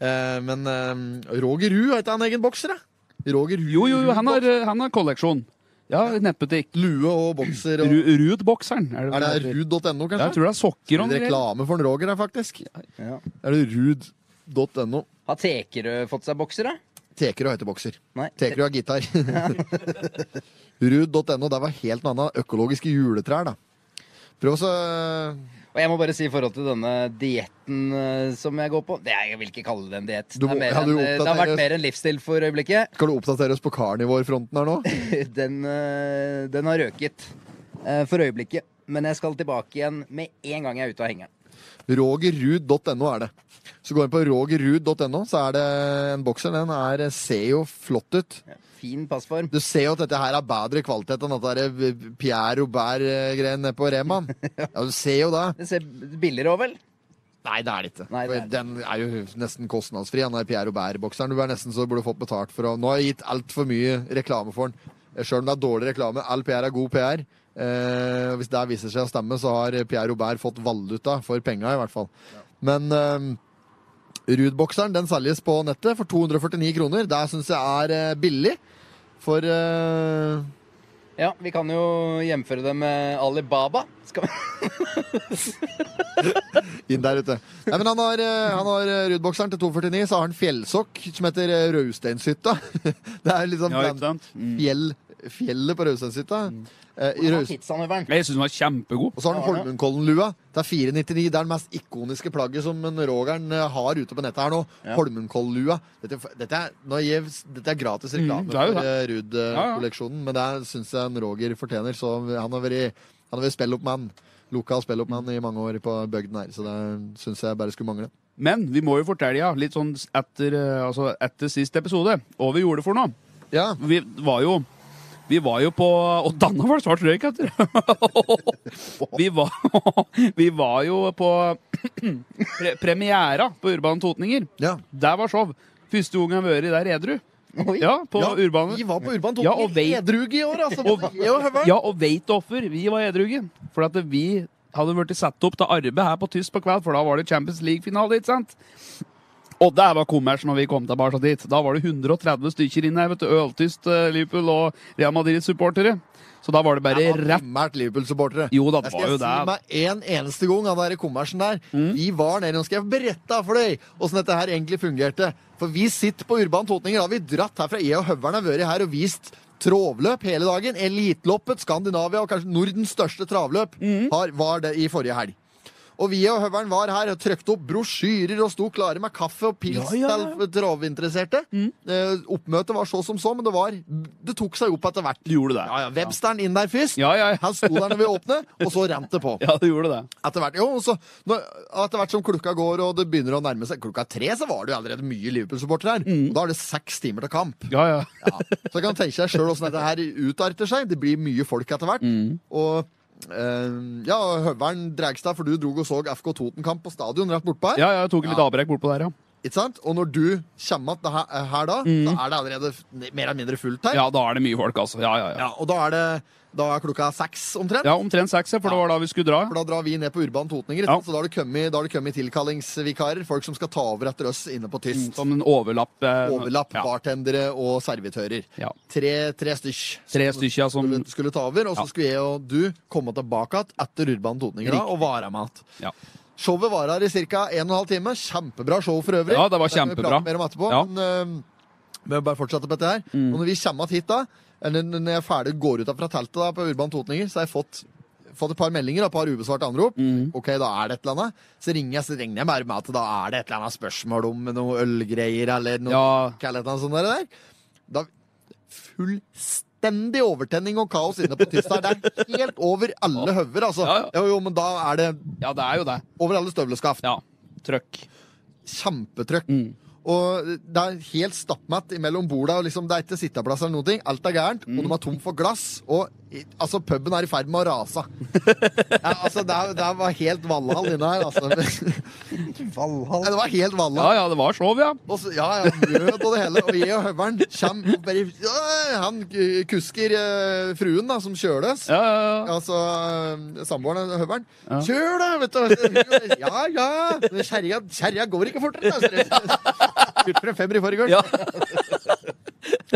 Eh, men eh, Roger Ruud, heter han egen bokser, da? Roger Ruud.
Jo, jo, jo, han har, eh, han har kolleksjon. Ja, nettbutikk.
Lue og bokser. Og,
Ru- Rudbokseren.
er det
heter?
ruud.no,
Ja,
kanskje?
jeg tror det er sokker og noen greier.
Reklame for en Roger her, faktisk.
Ja.
Er det ruud.no?
Har Tekerød fått seg bokser, da?
Tekerød heter bokser.
Nei.
Tekerød har gitar. <laughs> ruud.no, der var helt noe annet. Økologiske juletrær, da. Prøv eh, å så
Og jeg må bare si i forhold til denne dietten eh, som jeg går på det, er- Jeg vil ikke kalle det en diett.
Du
Det, er
må-
mer
ja, du
enn, eh, det har
oppdaterer-
vært mer en livsstil for øyeblikket. <clears throat>
Skal du oppdatere oss på karnivårfronten her nå?
Den, eh, den har røket eh, for øyeblikket. Men jeg skal tilbake igjen med en gang jeg er ute av hengeren.
Rogerrud.no er det. Så gå inn på rogerrud.no, så er det en bokser. Den er, eh, ser jo flott ut.
Ja, Fin passform.
Du ser jo at dette her er bedre kvalitet enn eh, at det er Pierre Robert-greien nede eh, på Remaen. Ja, du ser jo det.
Det ser billigere òg, vel?
Nei, det er det ikke.
Nei, det er det.
Den er jo nesten kostnadsfri. Han er Pierre Robert-bokseren. Du er nesten så burde fått betalt for å Nå har jeg gitt altfor mye reklame for den. Sjøl om det er dårlig reklame. All PR er god PR. Eh, hvis det viser seg å stemme, så har Pierre Robert fått valuta for penga, i hvert fall. Men eh, Ruud-bokseren den selges på nettet for 249 kroner. Det syns jeg er eh, billig. For eh,
Ja, vi kan jo hjemføre det med Alibaba. Skal vi...
inn der ute. Nei, men han har, eh, han har eh, Ruud-bokseren til 249, så har han fjellsokk som heter eh, Rausteinshytta. <laughs> Det er liksom
Ja, ikke sant? Mm.
fjell, fjellet på Rausteinshytta. Eh, i Raus-
Pizzanøveren.
Jeg syns den var kjempegod.
Og så har han
Ja, ja.
Holmenkollen-lua. Det er 499. Det er den mest ikoniske plagget som en Rogeren eh, har ute på nettet her nå.
Ja.
Holmenkollen-lua. Dette, dette, er- nå gir- dette er gratis reklame
Mm, det er jo
for
det.
eh, Ruud-kolleksjonen, men det syns jeg en Roger fortjener. Så han har vært, han har vært spelloppmann. Lokal spelloppmann i mange år på bygden her, så det syns jeg bare skulle mangle.
Men vi må jo fortelle, ja, litt sånn etter, eh, altså etter sist episode, hva vi gjorde for noe.
Ja,
Vi var jo Vi var jo på Og danna var det svart røyk etter! vi, var, <laughs> vi var jo på <clears throat> pre premiera på Urban Totninger.
ja.
Der var show. Første gang jeg har vært der edru.
Oi.
Ja, på
ja,
Urbane.
Vi var på Urban
Ja,
Totninger
og vei-
edruge i år, altså.
Og-
Ja, høvel.
Ja, og veit du hvorfor vi var edruge? For at vi hadde blitt satt opp til arbeid her på tysk på kveld, for da var det Champions League-finale, ikke sant? Og der var kommers når vi kom tilbake dit. Da var det 130 stykker inne her, vet du. Øltyst eh, Liverpool og Real Madrid-supportere. Så da var det bare
Jeg var
rett
primært Liverpool-supportere.
Jo da, det
Jeg skal
var jo Mm.
si
det.
meg en eneste gang av den kommersen der. Vi var nede, nå skal jeg berette for deg åssen dette her egentlig fungerte. For vi sitter på Urban Totninger, da har vi dratt herfra. Jeg og Høveren har vært her og vist travløp hele dagen. Elitloppet, Skandinavia og kanskje Nordens største travløp
Mm.
har, var det i forrige helg. Og vi og Høveren var her og trykte opp brosjyrer og sto klare med kaffe og pils
Ja, ja, ja. Mm.
til travinteresserte. Eh, oppmøtet var så som så, men det, var, det tok seg opp etter hvert.
Gjorde det.
Ja, ja, Websteren inn der først.
Ja, ja, ja.
Han sto der når vi åpnet, og så rant det på.
Ja, det gjorde det.
Etter hvert, jo, og så, når, etter hvert som klokka går og det begynner å nærme seg klokka tre, så var det jo allerede mye Liverpool-supportere her.
Mm.
Og da er det seks timer til kamp.
Ja, ja.
Ja. Så jeg kan tenke deg sjøl åssen dette her utarter seg. Det blir mye folk etter hvert.
Mm.
Og eh, ja, Høveren Dregstad, for du drog og så FK Toten-kamp på stadion rett bortpå her.
Ja, ja, jeg tok litt avbrekk bortpå der, ja.
Ikke sant? Og når du kommer igjen her, eh, her da, så er det allerede f- mer eller mindre fullt her.
Mm. Ja, da er det mye folk, altså. Ja, ja, ja.
Ja, og da er det da er klokka seks omtrent.
Ja, omtrent seks, ja, for det var da vi skulle dra.
For da drar vi ned på Urban Totninger,
Ja.
så da har det kommet, da har det kommet tilkallingsvikarer. Folk som skal ta over etter oss inne på Tyst.
Som en overlapp. eh,
Overlapp,
Mm. ja.
bartendere og servitører.
Ja.
Tre, tre stykk.
Tre stykker som
Skulle, skulle ta over, og så
Ja.
skulle jeg og du komme tilbake igjen etter Urban Totninger da, og være med igjen.
ja.
Showet varer i ca. 1 12 time. Kjempebra show for øvrig.
Ja, det var
kan vi
kjempebra.
prate mer om etterpå.
Ja. Mm.
Men, øhm, vi må bare fortsette på dette her. Og når vi kommer att hit da, eller når jeg er ferdig går ut av fra teltet da, på Urban Totninger, så har jeg fått, fått et par meldinger og et par ubesvarte anrop.
Mm.
Ok, da er det et eller annet. Så ringer jeg, så ringer jeg bare med at da er det et eller annet spørsmål om noe ølgreier eller noe
Ja.
eller et eller annet sånt sånn der. der. Da, fullstendig overtenning og kaos inne på Tysdal. Det er helt over alle høver, altså.
Ja, ja.
Jo, jo, men da er det
ja, det er jo det.
over alle støvleskaft.
Ja. Trøkk.
Kjempetrøkk.
Mm.
Og det er helt stappmatt mellom borda, og liksom, det er ikke sitteplass eller noen ting. Alt er gærent, og
Mm.
de er tom for glass. Og i- altså, puben er i ferd med å rase. ja, altså, det, er- det var helt Valhall inne her,
<laughs>
altså. Nei,
Valhall.
det var helt Valhall.
Ja, ja, det var show, ja.
Og så, ja, ja, møt og det hele. Og jeg og høveren kommer og bare ja, Han k- kusker eh, fruen, da, som kjøles.
Ja, ja, ja.
Altså eh, samboeren og høveren. Kjør, da! Vet du. Ja, ja. Men Kjerringa kjerringa går ikke fortere. da, sier hun. Kjørte for en femmer i forgårs.
Ja.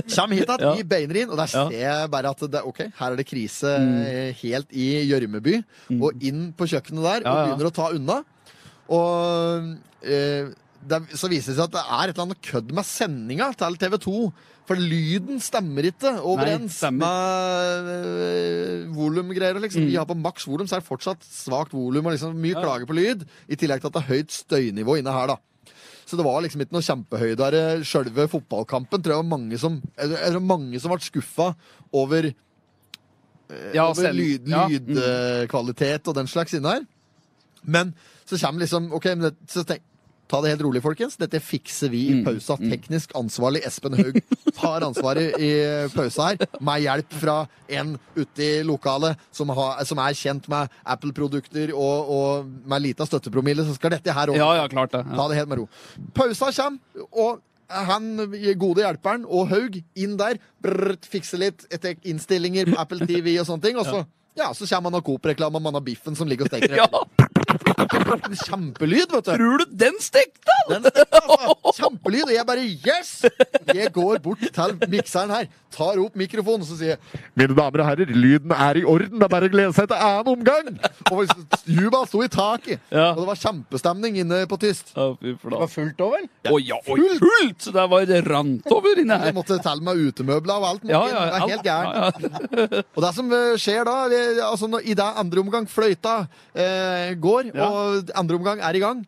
Kjem hit at
Ja.
vi beiner inn, og der
Ja.
ser jeg bare at det, ok, her er det krise eh, helt i Gjørmeby. Og inn på kjøkkenet der,
Ja,
og
ja.
begynner å ta unna. Og eh, det, er- så viser det seg at det er et eller annet kødd med sendinga til TV 2. For lyden stemmer ikke overens
stemmer.
med eh, volumgreier. Liksom. Vi har på maks volum, så er det fortsatt svakt volum og liksom mye klager på lyd. I tillegg til at det er høyt støynivå inne her, da. Så det var liksom ikke noe kjempehøydere. Sjølve fotballkampen tror jeg var mange som, jeg tror- jeg tror mange som ble skuffa over,
ja
over
selv-
lyd-
ja. Mm.
lydkvalitet og den slags inne her. Men så kommer liksom OK, men det, så tenk, ta det helt rolig, folkens. Dette fikser vi
Mm.
i pausa. Teknisk ansvarlig Espen Haug tar ansvaret i pausa her, med hjelp fra en ute i lokalet som, har, som er kjent med Apple-produkter og, og med lita støttepromille, så skal dette her ordnes.
Ja, ja, klart det. Ja.
Ta det helt med ro. Pausa kommer, og han gode hjelperen og Haug inn der, brrr, fikser litt etter innstillinger på Apple TV og sånne ting, og så, ja, så kommer han og Coop-reklame, og man har biffen som ligger og steker.
<laughs> ja.
Kjempelyd, vet du.
Tror du den stekte?!
Den stikker, altså. Kjempelyd, og jeg bare yes! Jeg går bort til mikseren her, tar opp mikrofonen, og så sier jeg Mine damer og herrer, lyden er i orden, det er bare å glede seg til annen omgang! Og Juba sto i taket,
Ja.
og det var kjempestemning inne på Tyst.
Å, fy
Det var
flate.
fullt òg, vel?
Å ja, oi, fullt! Det var rant over inne
Jeg
her.
måtte telle meg utemøbler og alt.
Ja,
Martin.
ja,
det er helt gærent.
ja, ja.
Og det som eh, skjer da, vi- altså når, i det andre omgang fløyta eh, går,
Ja.
og andre omgang er i gang,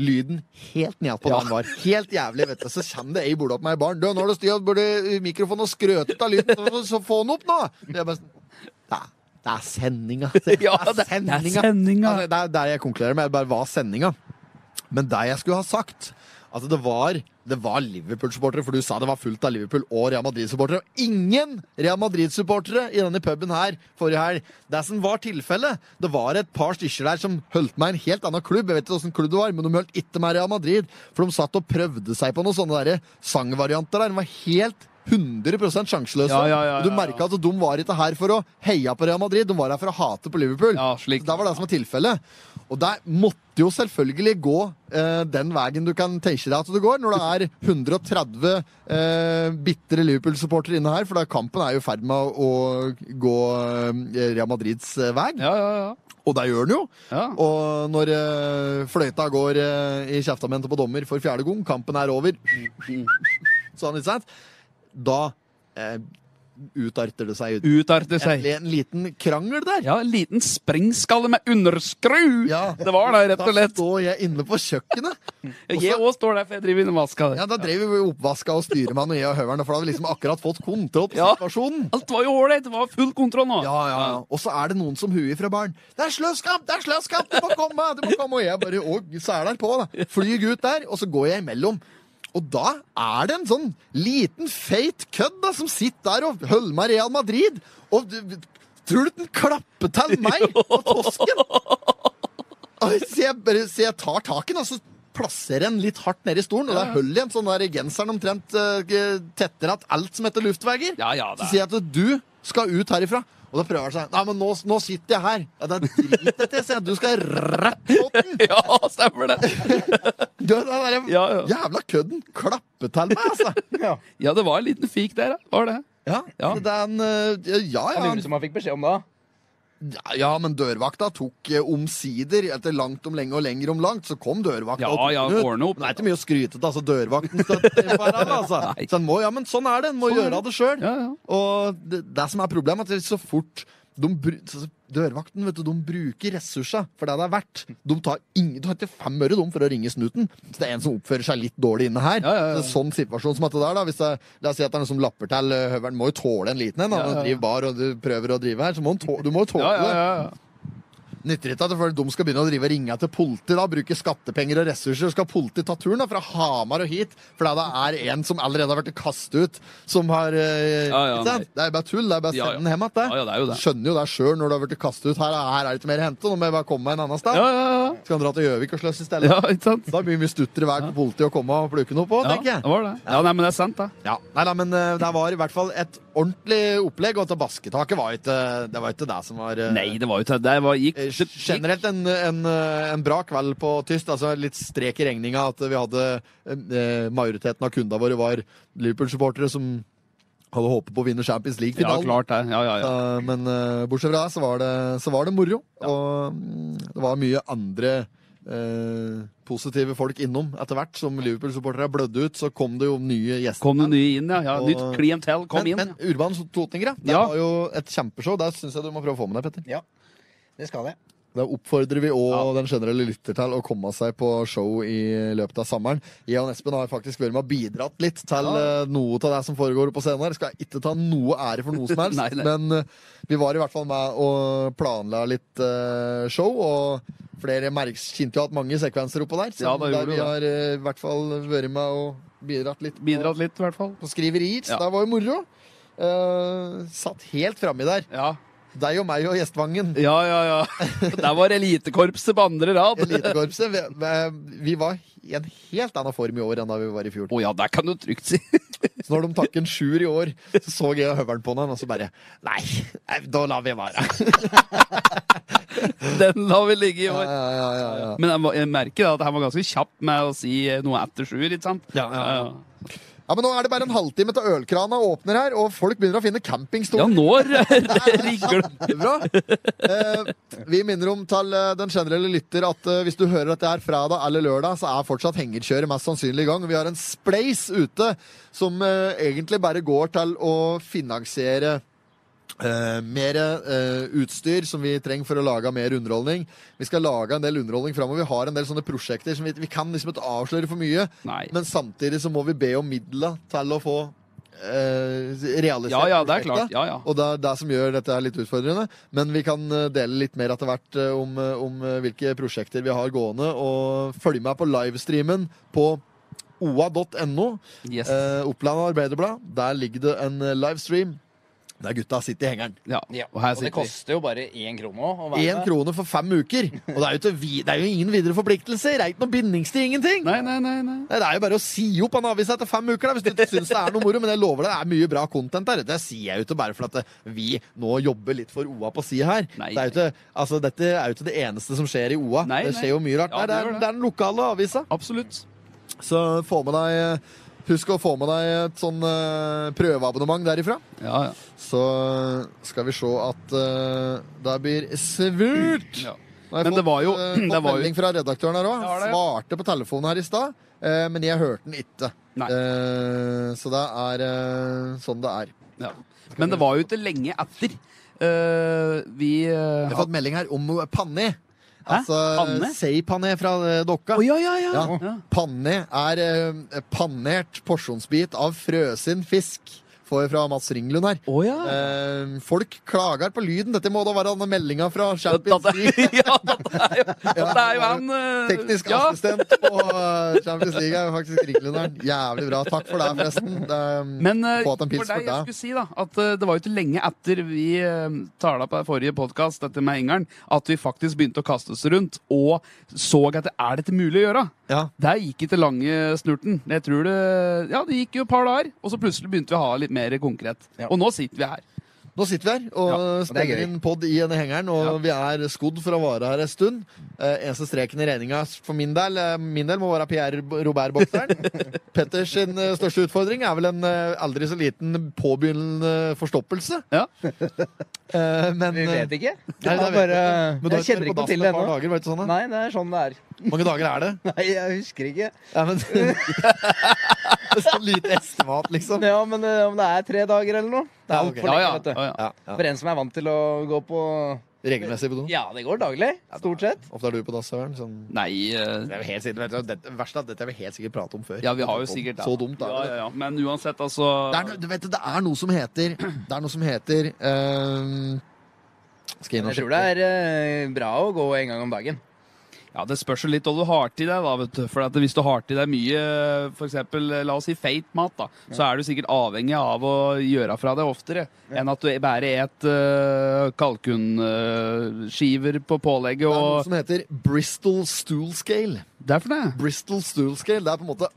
lyden helt ned på ja. den var. Helt jævlig, vet du. Så kommer det ei borda på meg i baren. Du, nå har du styrt burde mikrofonen og skrøtet av lyden, så, så få den opp nå! Jeg bare, sånn, det, er- det er sendinga. Det
<laughs> Ja, det- det er sendinga.
Altså, det er der jeg konkluderer med, bare hva er sendinga? Men det jeg skulle ha sagt Altså, det var, det var Liverpool-supportere, for du sa det var fullt av Liverpool og Real Madrid-supportere. Og ingen Real Madrid-supportere i denne puben her forrige helg. Det som var tilfellet, det var et par stykker der som holdt med en helt annen klubb. Jeg vet ikke åssen klubb det var, men de holdt ikke med Real Madrid. For de satt og prøvde seg på noen sånne der sangvarianter der. De var helt 100 sjanseløse.
Ja, ja, ja,
Og Du
ja, ja.
merka at de var ikke her for å heie på Real Madrid, de var her for å hate på Liverpool.
Ja, slik.
Så Det var det som var tilfellet. Og der måtte jo selvfølgelig gå eh, den veien du kan tenke deg at du går, når det er 130 eh, bitre Liverpool-supportere inne her, for da kampen er jo i ferd med å, å gå eh, Real Madrids eh, vei.
Ja, ja, ja.
Og det gjør den jo.
Ja.
Og når eh, fløyta går eh, i kjeftamentet på dommer for fjerde gang, kampen er over <laughs> Sånn, ikke sant? Da eh, utarter det seg ut.
Utarte seg.
En liten krangel der.
Ja, en liten sprengskalle med underskru!
Ja.
Det var det, rett og
Da
slett.
står jeg inne på kjøkkenet.
Jeg òg står der, for jeg driver inn og vasker.
Ja, Da drev vi oppvaska og styremann og jeg og høveren, for da hadde vi liksom akkurat fått kontroll på
Ja.
situasjonen.
Alt var jo ålreit. Det var full kontroll nå.
Ja, ja, ja. Og så er det noen som huer fra baren. 'Det er sløskamp! Det er sløskamp! Du må komme!' du må komme Og jeg bare og seler på, da. Flyr ut der, og så går jeg imellom. Og da er det en sånn liten, feit kødd da, som sitter der og holder med Real Madrid. Og du- tror du den klapper til meg og tosken? Og så jeg, bare, så jeg tar taken, og så plasserer en litt hardt nede i stolen, og da holder en sånn der genseren omtrent eh, tettere at alt som heter luftveier.
Ja, ja, det
Så
er-
sier jeg at du skal ut herifra. Og da prøver han seg. Nei, men nå, nå sitter jeg her. Ja, det er drit dette, sier jeg. Du skal rett på den.
Ja, stemmer det!
Du, den der,
Ja, ja.
Jævla kødden klapper til meg, altså.
Ja.
ja, det var en liten fik der, ja. Var det.
Ja,
Ja.
så det er en eh, Ja, ja.
Jeg lurer som han fikk beskjed om da.
Ja, ja, men dørvakta tok eh, omsider, etter langt om lenge og lenger om langt, så kom dørvakta.
Ja,
og tok
ja,
den ut.
ordne opp.
Men det er ikke mye å skryte av, altså. Dørvakten støtter i hverandre, altså.
<laughs> Nei.
Så en må, ja, men sånn er det. En må
Sånn er
gjøre det sjøl.
Ja, ja.
Og det, det som er problemet, er at det er så fort de, bru- så- så- Dørvakten vet du, de bruker ressurser for det det er verdt. De tar, ingen, de tar ikke fem øre de, for å ringe snuten. Så det er en som oppfører seg litt dårlig inne her.
Ja, ja, ja.
Så det er en sånn situasjon som dette der, da, hvis det, La oss si at det er noen som lapper til eh, høvelen. Må jo tåle en liten en. da.
Ja, ja,
Når du
ja.
driver bar og du prøver å drive her, så må han tå- du må jo tåle
Ja,
det.
ja, ja, ja.
Nytter ikke at folk- de skal begynne å drive og ringe til politiet, da, bruke skattepenger og ressurser. Skal politiet ta turen da, fra Hamar og hit fordi det er en som allerede har blitt kastet ut, som har eh,
Ja, ja,
ikke sant? Det er bare tull. Det er bare å
Ja,
sende
ja.
den hjem igjen. det.
Ja, ja, det er jo det.
Du Skjønner jo det sjøl når du har blitt kastet ut. Her, er- her er det ikke mer å hente. Nå må jeg bare komme meg en annen sted.
Ja, ja, ja.
Skal han dra til Gjøvik og sløse i stedet?
ja, ikke sant?
Da blir det mye stuttere vei for politiet å komme og plukke noe på,
Ja,
tenker
det
jeg.
var det. Ja, nei, men det er sant, det.
Ja, nei da, men eh, det var i hvert fall et ordentlig opplegg, og at basketaket var ikke det, var ikke det som var eh,
Nei, det var jo til det. Var, gikk,
Eh,
det gikk.
Generelt en, en, eh, en bra kveld på tyst. Altså litt strek i regninga at vi hadde eh, Majoriteten av kundene våre var Liverpool-supportere som hadde håpet på å vinne Champions
Ja,
League-finalen.
klart det. Ja, ja, ja.
Eh, men eh, bortsett fra det, så var det, så var det moro. Og mm, det var mye andre eh, positive folk innom etter hvert. Som Liverpool-supportere blødde ut, så kom det jo nye gjester.
Kom det nye inn, ja. ja. Nytt
Og-
klientell kom
men,
inn.
men Urban Totninger, ja. det
Ja.
var jo et kjempeshow. Der syns jeg du må prøve å få med deg, Petter.
Ja, det skal jeg.
Da oppfordrer vi òg den generelle lytter til å komme seg på show i løpet av sommeren. Jeg og Espen har faktisk vært med og bidratt litt til eh, noe av det som foregår på scenen her. Skal jeg ikke ta noe ære for noe som helst,
<laughs> Nei, nei.
men eh, vi var i hvert fall med og planla litt eh, show. og Flere merks kjente jo at mange sekvenser oppå der, så
Ja, da gjorde
der vi
det.
har eh, i hvert fall vært med og bidratt litt. på-
Bidratt litt, i hvert fall.
På skriverier, så
Ja.
det var jo moro. Eh, satt helt framme der.
Ja,
Deg og meg og gjestvangen.
ja, ja.
<laughs>
ja. Der var elitekorpset på andre rad. Å
Elitekorpset. Vi, vi- vi var i en helt annen form i år enn da vi var i fjor.
ja, der kan du trygt si. <laughs>
Så når de takk en sjuer i år, så så jeg høvelen på den, og så bare Nei, nei, da lar vi være.
Den lar vi ligge i
Ja,
år.
ja, ja, ja, ja.
Men jeg, må- jeg merker da at han var ganske kjapp med å si noe etter sjuer, ikke sant?
Ja, ja, ja. ja, Men nå er det bare en halvtime til ølkrana åpner her, og folk begynner å finne
Ja,
campingstoler.
nå <laughs> rigger det.
Kjempebra. Eh, vi minner om til eh, den generelle lytter at eh, hvis du hører dette her fredag eller lørdag, så er fortsatt hengerkjøret mest sannsynlig i gang. Vi har en spleis ute som eh, egentlig bare går til å finansiere Eh, mer eh, utstyr som vi trenger for å lage mer underholdning. Vi skal lage en del underholdning framover. Vi har en del sånne prosjekter som vi, vi kan liksom ikke avsløre for mye.
Nei.
Men samtidig så må vi be om midler til å få eh, realisert
Ja, ja, det er
prosjektet.
klart. Ja, ja.
Og det er det som gjør dette her litt utfordrende. Men vi kan eh, dele litt mer etter hvert eh, om, eh, om eh, hvilke prosjekter vi har gående. Og følg med på livestreamen på oa.no.
Yes.
Eh, Oppland Arbeiderblad. Der ligger det en eh, livestream. Der gutta sitter i hengeren.
Ja,
Ja.
og her
Og det
sitter vi.
koster jo bare én krone òg.
Én krone for fem uker. Og det er jo, til vi, det er jo ingen videre forpliktelser. Det er ikke noe bindingstid. Ingenting.
Nei, nei, nei, nei.
Nei, Det er jo bare å si opp han avisa etter fem uker, da, hvis du ikke syns det er noe moro. Men jeg lover deg, det er mye bra content der. Det sier jeg jo ikke bare for at eh, vi nå jobber litt for OA på sida her.
Nei.
Det er jo ikke, altså, dette er jo ikke det eneste som skjer i OA.
Nei,
det
nei.
skjer jo mye rart. der.
Ja,
det,
det gjør
er,
det.
det er den lokale avisa.
Absolutt.
Så få med deg eh, Husk å få med deg et sånn eh, prøveabonnement derifra.
Ja, ja.
Så skal vi se at eh, det blir svurt.
ja.
Nå har jeg
Men det
fått,
var jo-
eh,
<clears throat>
fått
det var jo-
melding fra redaktøren her òg.
Ja, det-
Svarte på telefonen her i stad, eh, men jeg hørte den ikke.
Nei.
Eh, så det er eh, sånn det er.
Ja. Men det var jo ikke lenge etter. eh, vi eh,
Jeg har
had-
fått melding her om pané.
Hæ?
Altså
Panne?
sei-pané fra eh, dokka.
Å, ja, ja, ja.
Ja.
ja.
Panne er eh, pannert porsjonsbit av frøsen fisk. Får jeg fra Mats Ringlund her.
Å, ja.
Eh, folk klager på lyden. Dette må da være denne meldinga fra Champions
Dette-
League.
<laughs> ja, dette er jo, dette
<laughs>
er jo han eh,
Teknisk
ja.
assistent på eh, Champions League er jo faktisk Ringlunderen. Jævlig bra. Takk for deg, forresten. Det, eh,
Men eh,
Få at en
for deg,
pils for
jeg
deg.
skulle si da, at eh, det var jo ikke lenge etter vi uh, tala på forrige podkast, dette med Engeren, at vi faktisk begynte å kaste oss rundt og så etter er dette mulig å gjøre.
Ja.
Der gikk ikke lange snurten. Jeg tror det, ja, det gikk jo et par dager, og så plutselig begynte vi å ha litt mer konkret.
Ja.
Og nå sitter vi her.
Nå sitter vi her og
Ja,
det er
spiller
gøy.
inn pod i denne hengeren, og vi er skodd for å vare her en stund. Eh, eneste streken i regninga for min del, eh, min del må være Pierre B-
<laughs>
Robert-bokseren. Petters sin, eh, største utfordring er vel en eh, aldri så liten påbegynnende forstoppelse.
Ja.
Eh, men
Vi vet ikke.
Nei, det
Det er
vet
bare,
eh, men du har
jeg kjenner
vært
ikke
på
til
dassen et
det
par
ennå.
dager, var det ikke sånn, da?
Nei, det er sånn det er. <laughs>
Hvor mange dager er det?
Nei, jeg husker ikke.
Ja, men, <laughs> så lite estimat, liksom.
Ja, men eh, om det er tre dager eller noe Det er
Ja,
alt
ok.
for
Ja,
lenge,
ja.
vet du.
ja, ja.
Ja, ja.
For en som er vant til å gå på
Regelmessig på do.
Ja, det går daglig. Stort sett.
Ofte er du på dass, Søren. Sånn.
Nei eh,
Det er jo helt sikkert, det verste er at dette har vi helt sikkert pratet om før.
Ja, vi har jo sikkert
Så dumt er
ja,
det.
ja, ja. Men uansett, altså
Det er, no- du vet, det er noe som heter Det er noe som heter ehm, Skal jeg inn og
Jeg tror det
sjekke?
er eh, bra å gå en gang om dagen.
Ja, Det spørs jo litt hva du har til deg. da, vet du. For at Hvis du har til deg mye f.eks. la oss si feit mat, da, så er du sikkert avhengig av å gjøre fra deg oftere enn at du bare et uh, kalkunskiver på pålegget
Det er noe
og
som heter Bristol Stool Scale.
Det er for det.
<laughs> Bristol Stool Scale det er på en måte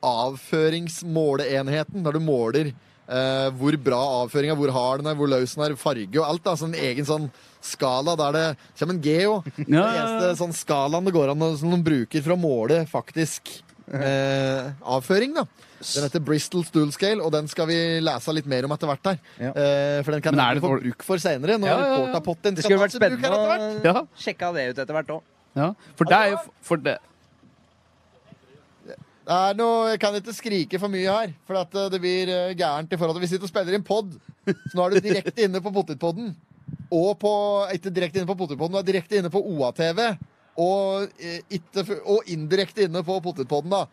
avføringsmåleenheten, der du måler eh, hvor bra avføringa, hvor hard den er, hvor løs den er, farge og alt. Da. Så en egen sånn skala der det kommer en geo.
<laughs>
Den
Ja, ja, ja.
eneste sånn skalaen det går an å- som de bruker for å måle faktisk eh, avføring, da. Den heter Bristol Stool Scale, og den skal vi lese litt mer om etter hvert her.
Ja.
Eh, for den kan
Men er
vi
det
få
for-
bruk for seinere, når
Ja, ja, ja.
portapotten
Det
skal
skulle vært
tas i bruk her
spennende
etter hvert.
å
Ja.
sjekke av det ut etter hvert òg.
ja. For det er jo for det.
Det er noe, jeg kan ikke skrike for mye her, for at eh, det blir eh, gærent i forhold til Vi sitter og spiller inn pod, så nå er du direkte inne på Potetpodden. Og på Ikke direkte inne på Potetpodden, du er direkte inne på OATV. Og, eh, ikke, fu- og indirekte inne på Potetpodden, da.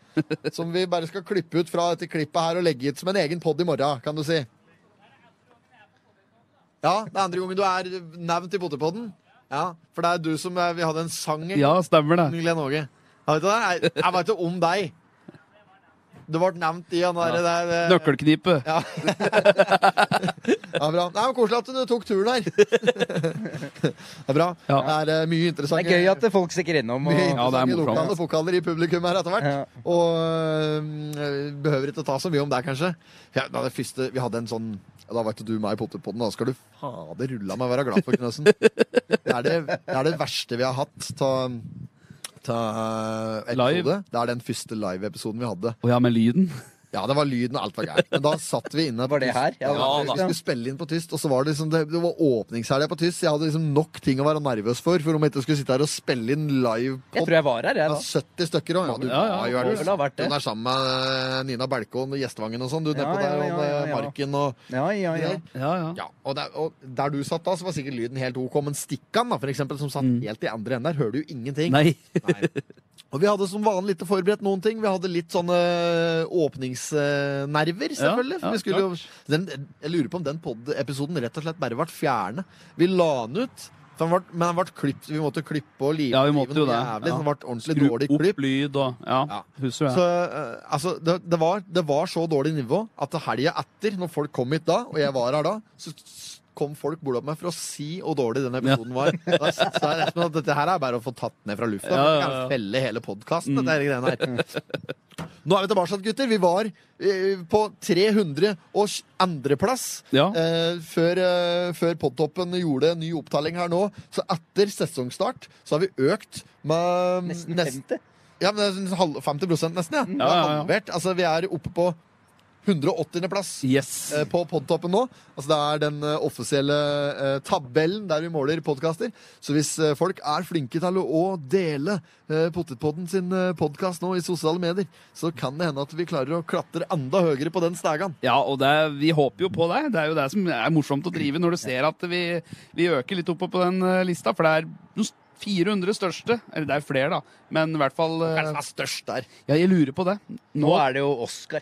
Som vi bare skal klippe ut fra dette klippet her og legge ut som en egen pod i morgen, kan du si. Ja, det er andre gangen du er nevnt i Potetpodden. Ja, for det er du som eh, Vi hadde en sang en
Ja, stemmer det.
Glenn Åge. Jeg vet, ikke det. Jeg- jeg vet ikke om deg. Det ble nevnt i han der. det- det-
Nøkkelknipet.
Ja. ja, bra. Nei, men Koselig at du tok turen her. <laughs> Det er bra.
Ja.
Det er eh, mye interessant.
Det er gøy at folk stikker innom.
mye
Og,
Ja, det er
interessante
morsomt.
lokale pokaler i publikum her etter hvert.
Ja.
Og eh, behøver ikke ta så mye om det, kanskje. Ja, da, det første, vi hadde en sånn da vet du meg i potterpodden, da skal du fader rulla meg være glad for, Knøsen. Det er det, det er det verste vi har hatt av episode.
Live.
Det er den første live-episoden vi hadde.
Å ja, med lyden.
Ja, det var lyden, og alt var gærent. Men da satt vi inne på
Var det her?
Ja,
Ja,
det var
vi skulle spille inn på tyst, og så var det liksom Det, det var åpningshelga på tyst. så Jeg hadde liksom nok ting å være nervøs for, for om jeg ikke skulle sitte her og spille inn live på
jeg tror jeg var her, jeg,
ja,
da.
70 stykker òg. Ja, du
Ja, ja,
var jo
må
her.
vel ha vært
Du
det.
er sammen med eh, Nina Belkåen og Gjestevangen og sånn. Du
Ja,
nedpå
ja,
der,
ja,
og eh,
ja, ja.
Marken og
Ja, ja, ja.
Ja, ja.
ja, og der, og der du satt da, så var sikkert lyden helt ok, men Stikkan, da, for eksempel, som satt helt i andre enden der, hører du jo ingenting.
Mm. Nei.
Nei. Og vi hadde som vanlig ikke forberedt noen ting. Vi hadde litt sånne åpningsnerver,
Ja,
selvfølgelig.
ja,
for vi skulle jo den, Jeg lurer på om den pod-episoden rett og slett bare ble fjernet. Vi la den ut, for den ble, men den ble klippet. Vi måtte klippe og live
Ja, vi
den
måtte jo det.
jævlig,
Ja.
så den ble ordentlig
Skru
dårlig klipp.
opp lyd og Ja,
Ja.
husker du
Så
det?
eh, altså, det, det, var, det var så dårlig nivå at helga etter, når folk kom hit da, og jeg var her da, så s- kom folk bort opp meg for å si hvor dårlig den episoden var. Da s- sa jeg rett og slett at dette her er bare å få tatt ned fra lufta.
Ja,
for
ja,
Vi
ja. Mm.
kan felle hele podkasten, dette her greiene her. Nå er vi tilbake, gutter. Vi var eh, på 302.-plass.
Ja.
Eh, før eh, før Podtoppen gjorde en ny opptelling her nå, så etter sesongstart så har vi økt med
Nesten
nest-
50.
ja, men det er sånn halv- 50 nesten, ja. Det er
Ja, ja, ja.
halvert. Altså, vi er oppe på 180. plass
Yes.
eh, på podtoppen nå. Altså, det er den eh, offisielle eh, tabellen der vi måler podkaster. Så hvis eh, folk er flinke til å å dele eh, Potetpodden sin eh, podkast nå i sosiale medier, så kan det hende at vi klarer å klatre enda høyere på den stegan.
Ja, og det, vi håper jo på deg. Det er jo det som er morsomt å drive når du ser at vi, vi øker litt oppe på den eh, lista, for det er de s- 400 største. Eller det er flere, da, men i hvert fall eh,
Hvem er størst der?
Ja, jeg lurer på det.
Nå er det jo Oscar.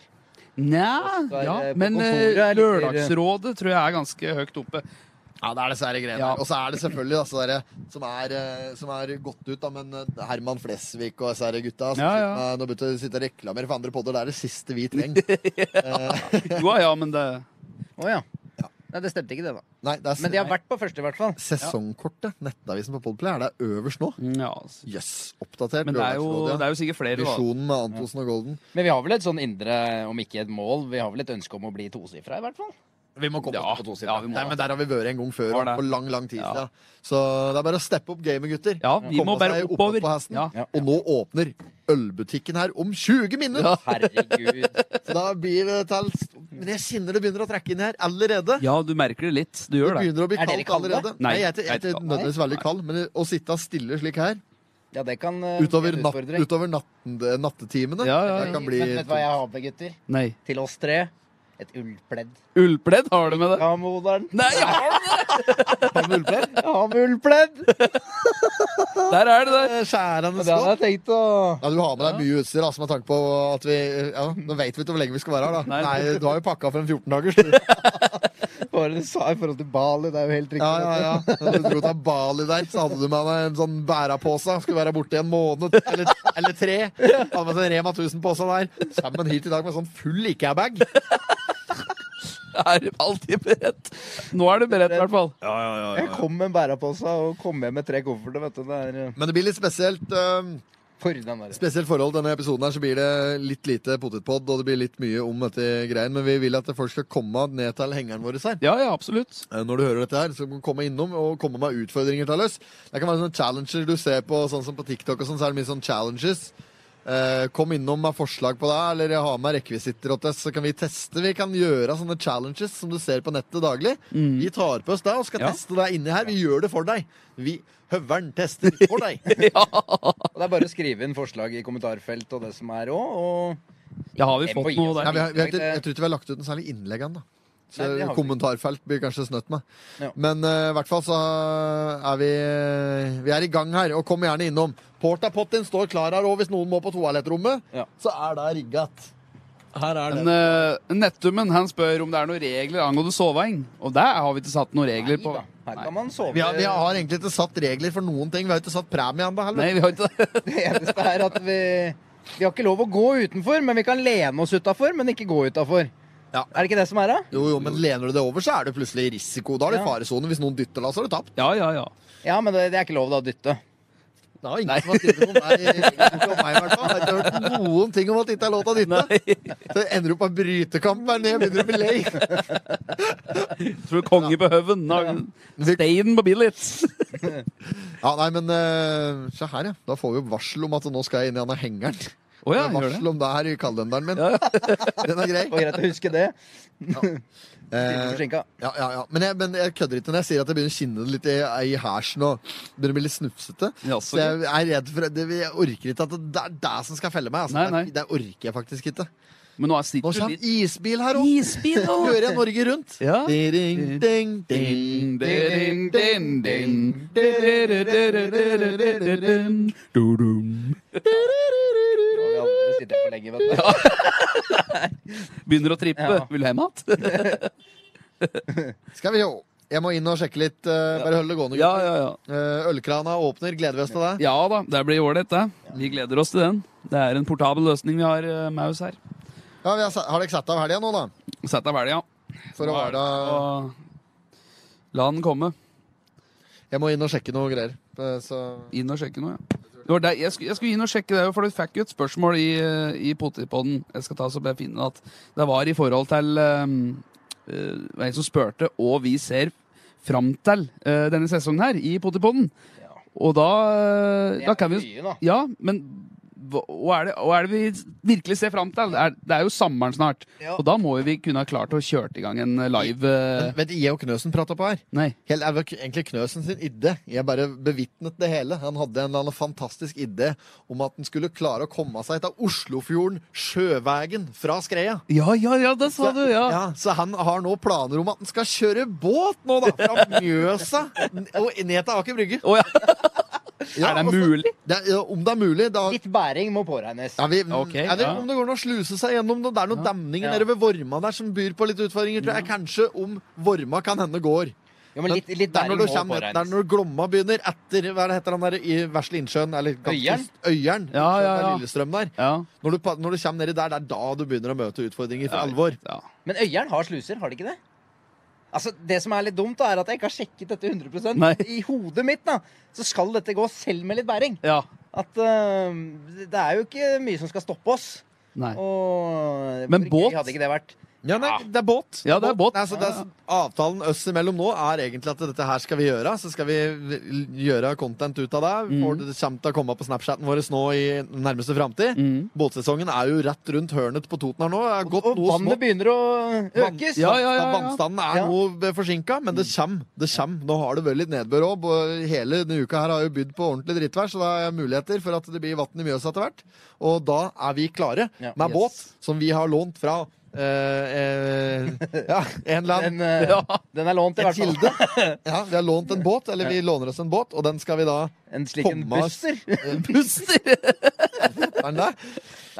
Nja,
Oskar,
ja,
eh, på
men
kontoret
eh,
er litt-
Lørdagsrådet tror jeg er ganske høyt oppe.
Ja, det er disse her greiene.
Ja.
Og så er det selvfølgelig da, så der, som, er, eh, som er gått ut, da, men eh, Herman Flesvig og disse her gutta som
Ja,
sitter
ja.
med- Nå begynte de å sitte og reklamere
<laughs>
for andre podder. Det er det siste vi trenger.
Jo ja, men det
Å ja. Nei, det stemte ikke, det, da.
Nei, det er
Men de har vært på første, i hvert fall.
sesongkortet. Nettavisen på Podplay er det øverst nå.
Ja, altså.
<laughs> Jøss. Oppdatert.
men det er, jo,
lørdagsråd, ja.
det er jo sikkert flere. Da.
Visjonen med Antonsen og Golden.
Men vi har vel et sånn indre, om ikke et mål, vi har vel et ønske om å bli tosifra, i hvert fall.
Vi må komme
Ja,
oss på to
ja, vi må
Nei,
det.
men Der har vi vært en gang før.
Var det?
For lang, lang tid
Ja.
siden. Så det er bare å steppe opp gamet, gutter.
Ja, vi
Komme
må bare
seg opp
oppover.
på hesten.
Ja.
Ja.
Og nå åpner ølbutikken her om 20 minutter!
Herregud.
Så da blir det til Men jeg kjenner det begynner å trekke inn her allerede.
ja, du merker det litt. Du
Det
gjør det.
begynner å bli
Er dere
kaldt
kalde?
allerede.
Nei.
Nei, jeg er ikke- jeg er ikke
Nei.
nødvendigvis veldig kald, men å sitte stille slik her
Ja, det kan eh,
utover,
bli en
natt,
utfordring.
utover natten, nattetimene
Ja, ja,
Det
ja.
kan bli
Men vet du hva jeg har med, gutter?
Nei.
Til oss tre. Et ullpledd.
Ullpledd har du med det.
Ja, moderen.
Nei, ja,
Har du ullpledd?
Jeg har med ullpledd!
der er det der.
Eh, Skjærende
Og Det hadde
skott.
jeg tenkt å
Ja, du har med deg mye utstyr, altså, med tanke på at vi Ja, nå vet vi ikke hvor lenge vi skal være her, da.
Nei.
Nei, du har jo pakka for en 14 dagers tur.
Hva var det du sa i forhold til Bali? Det er jo helt riktig.
Ja, ja, ja. Når du dro til Bali der, så hadde du med deg en sånn bærepose. Skulle være borte i en måned eller, eller tre. Hadde med seg en Rema 1000-pose der. Sammen hit i dag med sånn full Ikea-bag.
Er alltid beredt. Nå er du beredt, i hvert fall.
Jeg kom med en bærepose og kom hjem med tre kofferter, vet du. Det er eh,
Men det blir litt spesielt. eh,
for den der.
Spesielt forhold denne episoden her, så blir det litt lite potetpod, og det blir litt mye om dette greien, men vi vil at folk skal komme ned til hengeren vår her.
Ja, ja, absolutt.
Eh, Når du hører dette her, så kan du komme innom og komme med utfordringer til oss. Det kan være sånne challenger du ser på, sånn som på TikTok og sånn, så er det mye sånn challenges. Eh, kom innom med forslag på det, eller ha med rekvisitter åt oss, så kan vi teste. Vi kan gjøre sånne challenges som du ser på nettet daglig. Vi tar på oss det og skal
Ja.
teste det inni her. Vi gjør det for deg. Vi høveren tester for deg.
Og det er bare å skrive inn forslag i kommentarfelt og det som er òg, og
Ja, har vi fått noe
Ja,
der?
vi har, vi har, ikke- jeg tror ikke vi har lagt ut en særlig innlegg ennå. Så
Nei, det har vi
kommentarfelt blir kanskje snøtt med.
Ja.
Men eh, i hvert fall så eh, er vi eh, Vi er i gang her, og kom gjerne innom. Porta Pottin står klar her, og hvis noen må på toalettrommet,
Ja.
så er det rigget. Her er
Men, eh, Nettummen han spør om det er noen regler angående soving. Og der har vi ikke satt noen regler på.
Nei da. Her kan man
eh,
sove.
Vi har, vi har egentlig ikke satt regler for noen ting. Vi har ikke satt premie ennå heller.
Nei, vi har ikke det. <laughs>
Det eneste er at vi Vi har ikke lov å gå utenfor, men vi kan lene oss utafor, men ikke gå utafor.
Ja.
Er det ikke det som er, da?
Jo, jo, men lener du det over, så er det plutselig risiko. Da er det
Ja.
faresone. Hvis noen dytter deg, så er du tapt.
Ja, ja, ja.
Ja, men det, det er ikke lov da å dytte.
Det har ingen som har stittet på meg. Ikke om meg i hvert fall. Jeg har ikke hørt noen ting om at det ikke er lov til å dytte. Så ender du på en brytekamp der nede, begynner å bli lei.
<laughs> Tror du konge på høven? Steinen på Billits.
Ja, nei, men eh, se her, ja. Da får vi jo varsel om at nå skal jeg inn i denne hengeren.
Å ja,
Det er
gjør det.
varsel om det her i kalenderen min.
Ja.
<laughs> Den er grei.
Det var greit å huske
<laughs>
det.
Eh,
Forsinka.
ja, ja, ja. Men, jeg, men jeg kødder ikke når jeg sier at jeg begynner å kinne det litt i, i hersen og begynner å bli litt snufsete.
Ja, så
Så jeg er redd for det, Jeg orker ikke at det, det er det som skal felle meg. Altså.
Nei, nei.
Det, det orker jeg faktisk ikke.
Men nå
Nå
er sitter du
kommer
litt
isbil her òg.
Isbil, da!
Hører jeg Norge Rundt.
Ja.
Ding, ding, ding.
Ding, ding, ding, ding. Du-du-du-du-du-du-du-du. Du-dum.
Nå har vi aldri sittet for lenge, vet du.
Begynner å trippe.
Ja.
Vil du hjem igjen?
Skal vi jo. Jeg må inn og sjekke litt. eh, bare hold det gående.
<laughs> Ja,
gutter.
ja, ja.
Eh, Ølkrana åpner. Gleder vi oss til det.
Ja da, det blir ålreit, det. Vi gleder oss til den. Det er en portabel løsning vi har eh, med oss her.
Ja, vi har, sa- har dere satt av helga nå, da?
Sett deg vel, ja.
For å være
Og La den komme.
Jeg må inn og sjekke noe greier. Eh, Så
Inn og sjekke noe, ja. Det var der, jeg, skulle, jeg skulle inn og sjekke det, for du fikk jo et spørsmål i, eh, i Potipodden. Jeg skal ta så bare finne at det var i forhold til um, en som spurte hva vi ser fram til eh, denne sesongen her i Potipodden.
Ja.
Og da, eh,
Det
da
er
kan vi
mye, da.
Ja, men hva, hva, er det, hva er det vi virkelig ser fram til? Det er, det er jo sommeren snart.
Ja.
Og da må jo vi kunne ha klart å kjøre i gang en live eh,
Men Vet du, jeg og Knøsen prata på her.
Nei.
Helt, det var k- egentlig Knøsen sin idé. Jeg bare bevitnet det hele. Han hadde en eller annen fantastisk idé om at han skulle klare å komme seg til Oslofjorden sjøveien fra Skreia.
Ja, ja, ja, det sa du! Ja.
Ja, så han har nå planer om at han skal kjøre båt nå, da! Fra Mjøsa n- og ned til Aker Brygge.
Å, ja.
Ja,
Er det
altså,
mulig?
det er- ja, om det er mulig, da
Litt bæring må påregnes.
ja, vi,
Ok,
Eller
ja.
om det går an å sluse seg gjennom noe. Det er noen demninger
Ja.
nede ved Vorma der som byr på litt utfordringer, tror jeg.
Mm.
Kanskje om Vorma kan hende går.
Jo, men litt, litt
Det er
bæring
når,
må
du kommer, det er
påregnes.
når Glomma begynner etter hva er det heter han der i Vesle Innsjøen eller
Øyeren?
Gatkust- Øyeren.
Ja,
Innsjøen,
ja,
det er
ja.
Lillestrøm der.
Ja.
Når du, pa- når du kommer nedi der, det er da du begynner å møte utfordringer for
Ja.
alvor.
ja.
Men Øyeren har sluser, har de ikke det? Altså, Det som er litt dumt, da, er at jeg ikke har sjekket dette 100
Nei.
I hodet mitt da, så skal dette gå selv med litt bæring.
Ja.
At eh, Det er jo ikke mye som skal stoppe oss.
Nei.
Og
Men
hvor
båt?
gøy Hadde ikke det vært.
Ja, nei, det er båt.
Ja, det er båt.
Nei, så det er, avtalen oss imellom nå er egentlig at dette her skal vi gjøre. Så skal vi gjøre content ut av det.
Mm.
Får Det kommer til å komme på Snapchaten vår nå i nærmeste framtid.
Mm.
Båtsesongen er jo rett rundt hørnet på Toten her nå. Det har gått
Og
noe
vannet
smått.
begynner å
Vann-
økes.
Ja, ja, ja, ja.
Vannstanden er
Ja.
noe forsinka, men det kommer. Det kommer. Nå har det vært litt nedbør òg. Hele denne uka her har jo bydd på ordentlig drittvær, så det er muligheter for at det blir vann i Mjøsa etter hvert. Og da er vi klare
Ja.
med
Yes.
båt som vi har lånt fra eh, eh, ja, en eller
<laughs>
annen
Den, eh,
Ja.
den er lånt, i
En
hvert fall.
kilde. Ja, vi har lånt en båt, eller vi låner oss en båt, og den skal vi da
En slik en
Komme oss.
buster.
<laughs>
<laughs>
Puster!
Er den der?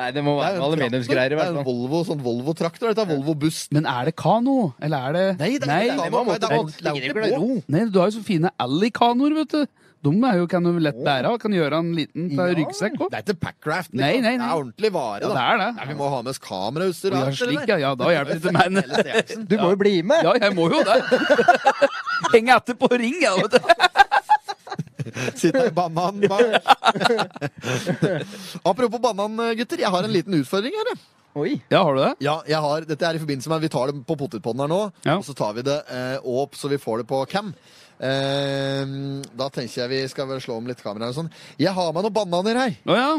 Nei, det må
Det er
være
en
noe aluminiumsgreier.
traktor.
i
Det er
hvert
en
fall.
Volvo, sånn Volvo-traktor. Dette er Volvo-buss.
Men er det kano? Eller er det
Nei, det er
Nei.
ikke kano. Nei,
Det var
det er
motorbåt.
ordentlig
Ligger i
båt.
ro.
Nei, du har jo så fine alley-kanoer, vet du. De er jo, kan du lett bære og kan gjøre en liten til
Ja.
ryggsekk òg.
Det er ikke Packraft. liksom.
Nei, nei, nei.
Det er ordentlig vare.
Ja,
da.
det er det.
Nei, vi må ha med oss kamerautstyr.
Å, ja,
alt det
slik,
der.
ja, ja, da hjelper det
<laughs>
ikke meg. men-
Hele seansen.
Du må jo bli med!
Ja, jeg må jo
<laughs>
det. Henge etter på ring, jeg, vet du.
Sitter i banan
<laughs>
bak. Apropos banan, gutter. Jeg har en liten utfordring her. jeg.
Oi.
Ja, har du det?
Ja, jeg har, dette er i forbindelse med Vi tar det på potetpodden her nå,
Ja.
og så tar vi det eh, opp så vi får det på cam. Eh, da tenker jeg vi skal vel slå om litt kamera og sånn. Jeg har med noen bananer her.
Å ja.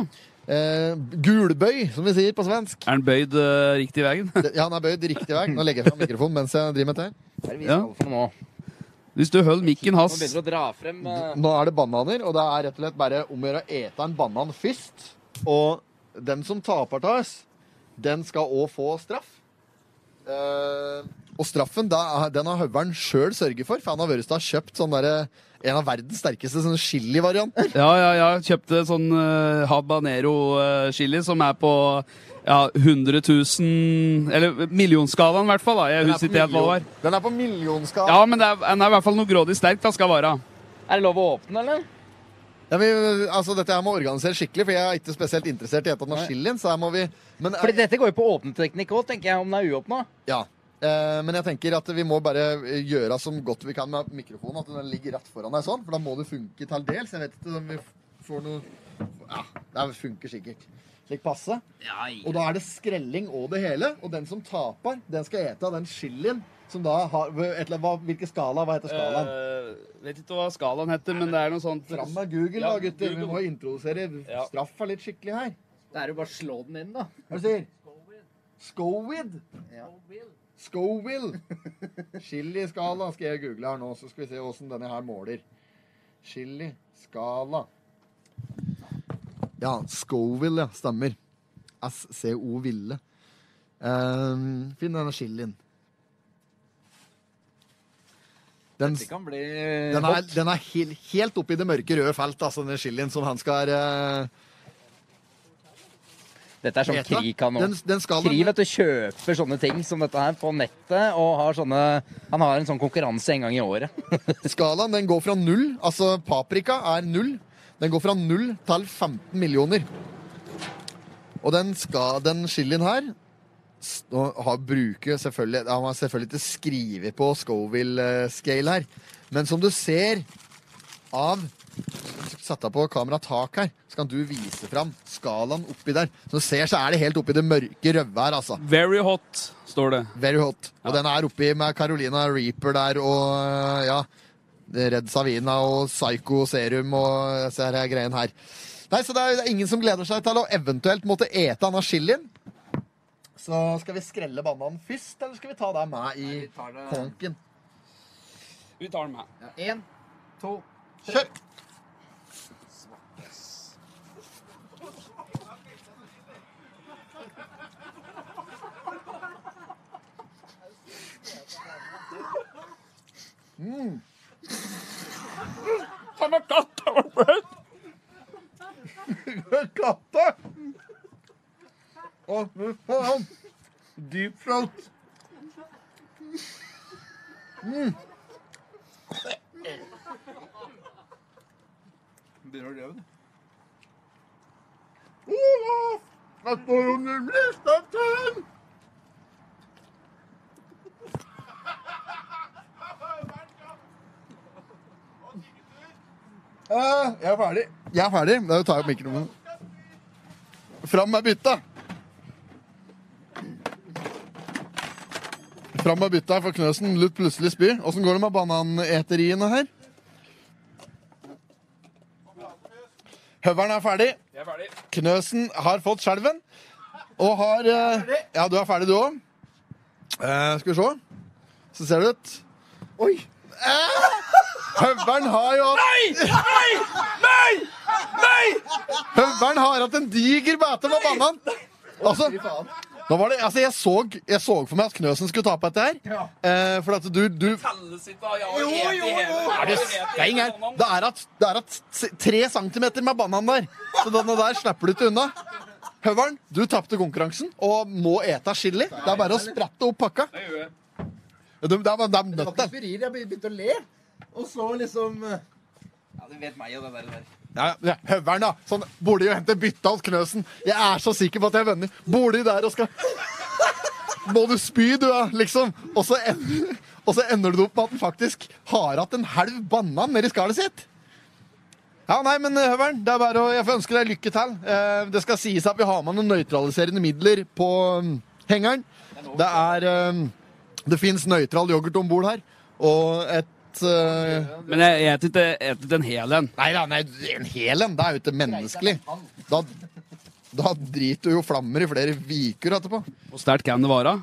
Eh, gulbøy, som vi sier på
<laughs>
svensk.
Er den bøyd eh, riktig veien?
Det- Ja, han er bøyd riktig vei. Nå legger jeg fram mikrofonen mens jeg driver med dette.
Hva er det vi
Ja.
skal for noe nå?
Hvis du holder mikken
Nå
hans
begynner du å dra frem eh,
Nå er det bananer, og det er rett og slett bare om å gjøre å ete en banan først. Og den som taper til oss, den skal òg få straff. Eh, og straffen da, er- den har høveren sjøl sørget for, for han har vært og kjøpt sånn derre- en av verdens sterkeste sånne chili-varianter.
Ja, ja, ja. Kjøpte sånn eh, habanero eh, chili som er på ja, 100 000 Eller millionskalaen, i hvert fall. da. Jeg husker ikke helt hva det var.
Den er på millionskala.
Ja, men det er, den er i hvert fall noe grådig sterk, da, skal være.
Er det lov å åpne, eller?
Ja, men, altså, dette her må organisere skikkelig, for jeg er ikke spesielt interessert i et av den chilien. Så her må vi men,
Fordi dette går jo på åpneteknikk òg, tenker jeg, om den er uåpna.
Ja. Eh, men jeg tenker at vi må bare eh, gjøre som godt vi kan med mikrofonen. At den ligger rett foran deg sånn, for da må det funke til dels. Jeg vet ikke om vi får noe Ja, det funker sikkert. Slik passe. Og da er det skrelling og det hele. Og den som taper, den skal ete av den chilien som da har et eller, hva, Hvilken skala? Hva heter
Eh,
skalaen?
vet ikke hva skalaen heter, men det er noe sånt
Fram med Google, da,
Ja,
gutter. Vi
Google.
må jo introdusere
Ja.
straffa litt skikkelig her.
Det er jo bare å slå den inn, da.
Hva er det du sier Scowid.
<laughs>
Scoville. Chiliskala skal jeg google her nå, så skal vi se åssen denne her måler. Chiliskala. Ja, Scoville, ja. Stemmer. SCO-ville. Um, finn denne chilien. Den,
Det kan bli
den er, den er hel, helt oppi det mørke røde felt, altså, den chilien som han skal eh,
Dette er sånn
ete.
Kri kan nå.
Den, den skal
Kri vet du, kjøper sånne ting som dette her på nettet, og har sånne Han har en sånn konkurranse en gang i året.
Skalaen den går fra null, altså paprika er null. Den går fra null til 15 millioner. Og den, ska, den chilien her s- nå har bruker selvfølgelig Han har selvfølgelig ikke skrevet på Scoville-scale her, men som du ser av Sett deg på kameratak her, så kan du vise fram skalaen oppi der. Som du ser, så er det helt oppi det mørke røde her, altså.
Very hot, står det.
Very hot. Og den er oppi med Carolina Reaper der og øh, ja, Red Savina og Psycho Serum og disse her greiene her. Nei, så det er, det er ingen som gleder seg til å eventuelt måtte ete denne chilien. Så skal vi skrelle bananen først, eller skal vi ta deg med i konken?
Vi tar den med.
Én, to
Kjør!
Den var godt, den var bløt.
Katta! Å, fy faen! Deep throat. Mm.
Begynner å leve, du.
Jeg står under blystøtten! Eh, jeg er ferdig. Jeg er ferdig. Da tar jeg opp mikrofonen. Fram med bytta! Fram med bytta for Knøsen lot plutselig spy. Åssen går det med bananeteriene her? Høveren er ferdig.
Jeg er ferdig.
Knøsen har fått skjelven. Og har eh, Ja, du er ferdig, du òg. skal vi se. Så ser det ut. Eh!
Oi!
Høveren har jo hatt Nei! Nei! Nei! Nei! Høveren har hatt en diger bæte med banan. Altså, nå var det, altså jeg, så, jeg så for meg at Knøsen skulle tape dette her. Eh, for at du, du er det stein her? Det er at, det er at s- tre centimeter med banan der. Så denne der slipper du ikke unna. Høveren, du tapte konkurransen og må ete chili. Det er bare å sprette opp pakka. Det er, det er, det er
Det var ikke
nøtter.
spyrir, jeg begynte å le. Og så liksom eh,
Ja, du vet meg og det der.
Ja, ja, Høveren, da. Sånn, Burde jo hente bytte hos Knøsen. Jeg er så sikker på at jeg vender. Bor de der og skal Må du spy, du, da? Liksom. Og så, en... og så ender du opp med at han faktisk har hatt en halv banan nedi skallet sitt. Ja, nei, men eh, Høveren, det er bare å Jeg får ønske deg lykke til. Eh, Det skal sies at vi har med noen nøytraliserende midler på mm, hengeren. Det er eh, Det fins nøytral yoghurt om bord her, og et eh,
Men jeg spiser ikke, jeg et ikke en hel en.
Nei da, nei, en hel en. Det er jo ikke menneskelig. Da, da driter du jo flammer i flere viker etterpå.
Hvor sterkt kan det være?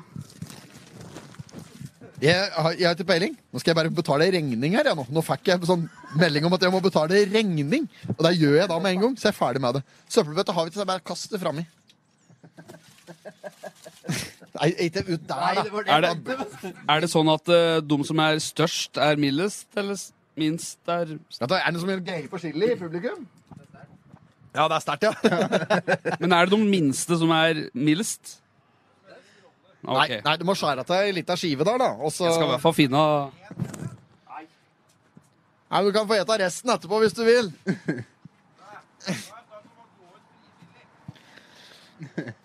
Jeg, har- jeg har ikke peiling. Nå skal jeg bare betale en regning her. Ja, nå. nå fikk jeg sånn melding om at jeg må betale en regning. Og det gjør jeg da med en gang, så jeg er ferdig med det. Søppelbøtta har vi ikke, så jeg bare kast det frami. Nei, ikke ut der, da.
Er det, er det sånn at eh, de som er størst, er mildest, eller s- minst er
Vent da, Er det noe som gjør greier forskjellig i publikum? Ja, det er sterkt, ja.
Men er det de minste som er mildest? Ok.
Nei, nei, du må skjære av deg ei lita skive der, da. Og så
Jeg skal i hvert fall finne
Nei, men Du kan få ete resten etterpå hvis du vil.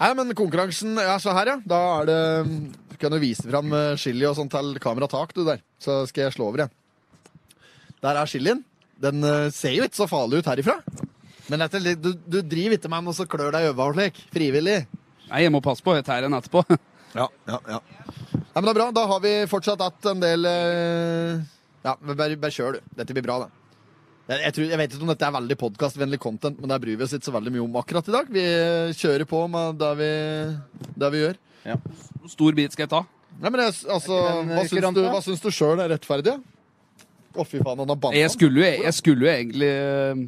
Nei, men konkurransen er så her, ja. Da er det Du kan jo vise fram eh, chili og sånn til kameratak, du der. Så skal jeg slå over igjen. Der er chilien. Den eh, ser jo ikke så farlig ut herifra. Men dette, du, du driver ikke med den og så klør deg i øynene og slik. Frivillig.
Nei, jeg må passe på. Jeg tar en etterpå. <laughs>
Ja, ja, ja. Nei, men det er bra. Da har vi fortsatt hatt en del eh, Ja, men bare, bare kjør, du. Dette blir bra, det. Jeg, jeg, tror, jeg vet ikke om dette er veldig podkastvennlig content, men det bryr vi oss ikke så veldig mye om akkurat i dag. Vi eh, kjører på med det vi, det vi gjør.
Hvor stor bit skal jeg ta?
Nei, men jeg, altså,
Er
hva syns
ikke den, eh, kurant,
du,
da?
hva syns du sjøl er rettferdig? Å, fy faen, han har
Jeg
banna.
skulle jo, e-, jeg skulle jo egentlig eh,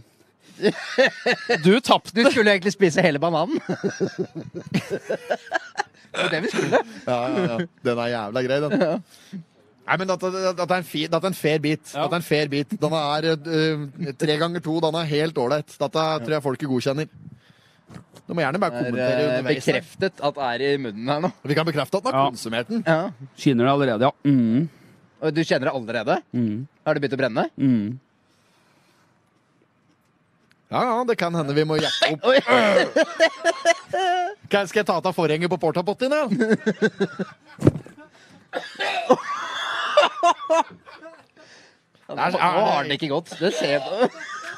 Du tapte.
Du skulle egentlig spise hele bananen. det var det vi skulle.
<laughs> Ja, ja, ja. Den er jævla grei, den. Nei, men dette, dette, er en fi, dette er en fair bit.
Ja.
Dette er en fair bit. Denne er eh, tre ganger to. Den er helt ålreit. Dette tror jeg folket godkjenner. Du må gjerne bare
Det er
kommentere
eh,
underveis. her.
bekreftet at det er i munnen her nå.
Vi kan bekrefte at den har
Ja.
konsumert den.
Ja.
Skinner det allerede, ja. Mm,
Og du kjenner det allerede?
mm,
Har det begynt å brenne?
mm.
Ja, ja, det kan hende vi må jappe
<laughs>
opp. Kan- Skal jeg ta av forhenget på portapottien, da?
Ja,
er-
nå har den ikke gått. Det ser jeg.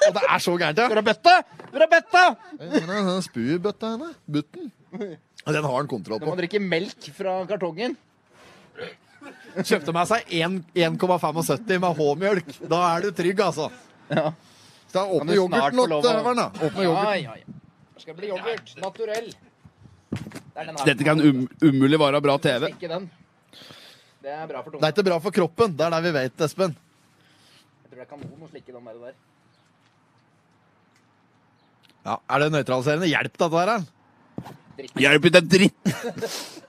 Og det er så gærent, ja.
Hvor er bøtta? Hvor er bøtta?
Den Spuebøtta henne. Butten. Ja, Den har han kontroll
Du
på.
må drikke melk fra kartongen.
Kjøpte meg seg en- 1,75 med H-mjølk. Da er du trygg, altså.
Ja.
Da
Kan
åpner
du
yoghurten
snart få
opp,
lov å-
Høveren. da. Åpne yoghurten.
Ja, ja, ja. Det skal bli yoghurt. Naturell. Det er den her.
Dette kan um, umulig være bra TV.
Ikke den. Det er bra for
Det
tunga.
er ikke bra for kroppen. Det er det vi vet, Espen.
Jeg tror det er kanon å slikke den der. der.
Ja, Er det nøytraliserende? Hjelp dette her, da.
Hjelp ikke en dritt!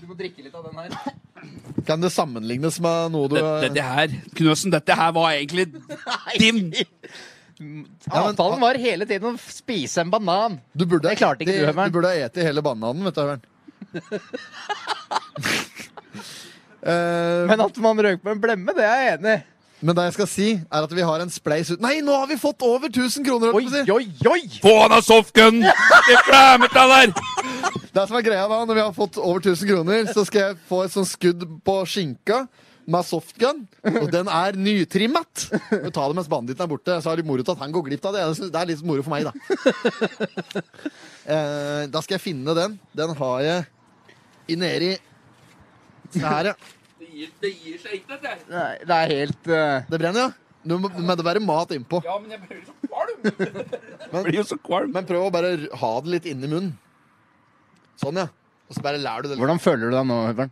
Du må drikke litt av den her.
Kan det sammenlignes med noe du
Dette, dette her, Knøsen, dette her var egentlig
<laughs>
dim!
men-
Avtalen var hele tiden å spise en banan.
Du burde
Det klarte ikke du, Høveren.
Du burde ha ete hele bananen, vet du,
<laughs>
Høveren. Eh, men,
Men at man røk på en blemme, det er jeg enig i.
det jeg skal si, er at vi har en spleis ut Nei, nå har vi fått over 1000 kroner! holdt
Oi,
jeg på å si.
oi, oi!
Få han av softgun! Det flemmer til der!
Det som er greia da, Når vi har fått over 1000 kroner, så skal jeg få et sånt skudd på skinka. med softgun, og den er nytrimmet. Du tar det mens banditten er borte, så har du moro til at han går glipp av det. Jeg synes Det er litt moro for meg, da. Eh, da skal jeg finne den. Den har jeg i nedi Se her, ja.
Det gir, det gir seg ikke, dette. her.
Nei, det er helt eh,
Det brenner, ja. Nå må må det være mat innpå.
Ja, men jeg blir så
<laughs>
kvalm. Jeg blir jo så kvalm.
Men prøv å bare ha det litt inni munnen. Sånn, ja. Og så bare lærer du det.
Hvordan føler du deg nå, Høveren?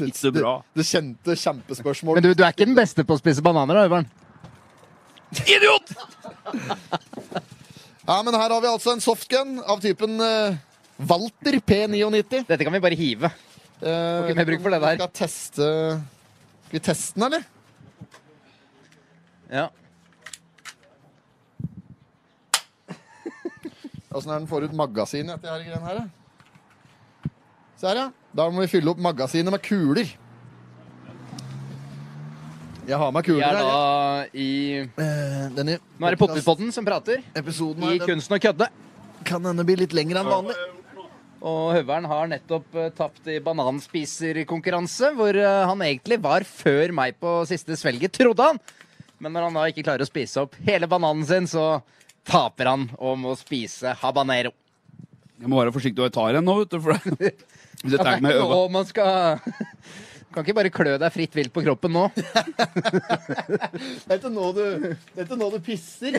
Ikke så bra.
Det, det kjente kjempespørsmålet.
Men du, du er ikke den beste på å spise bananer, da, Høveren?
Idiot!
Ja, men her har vi altså en softgun av typen eh, Walter P99.
Dette kan vi bare hive.
Uh,
Ok, mer bruk for det der.
Skal teste Skal vi teste den, eller?
Ja.
Åssen er den får ut magasinet etter de her greiene her? da? Se her, ja. Da må vi fylle opp magasinet med kuler. Jeg har med
Vi
kuler
er
her.
da
ja.
i
Eh, Denne
Nå er det Pottispodden som prater.
episoden
I
her, den
Kunsten å kødde.
kan hende bli litt lengre enn vanlig.
Og Høveren har nettopp eh, tapt i bananspiserkonkurranse, hvor eh, han egentlig var før meg på siste svelget, trodde han. Men når han da ikke klarer å spise opp hele bananen sin, så taper han og må spise habanero.
Jeg må være forsiktig hva jeg tar en nå, vet du. For det- hvis jeg tar meg i øva
<laughs> Og man skal <laughs> Kan ikke bare klø deg fritt vilt på kroppen nå.
Det er ikke nå du, det er ikke nå du pisser.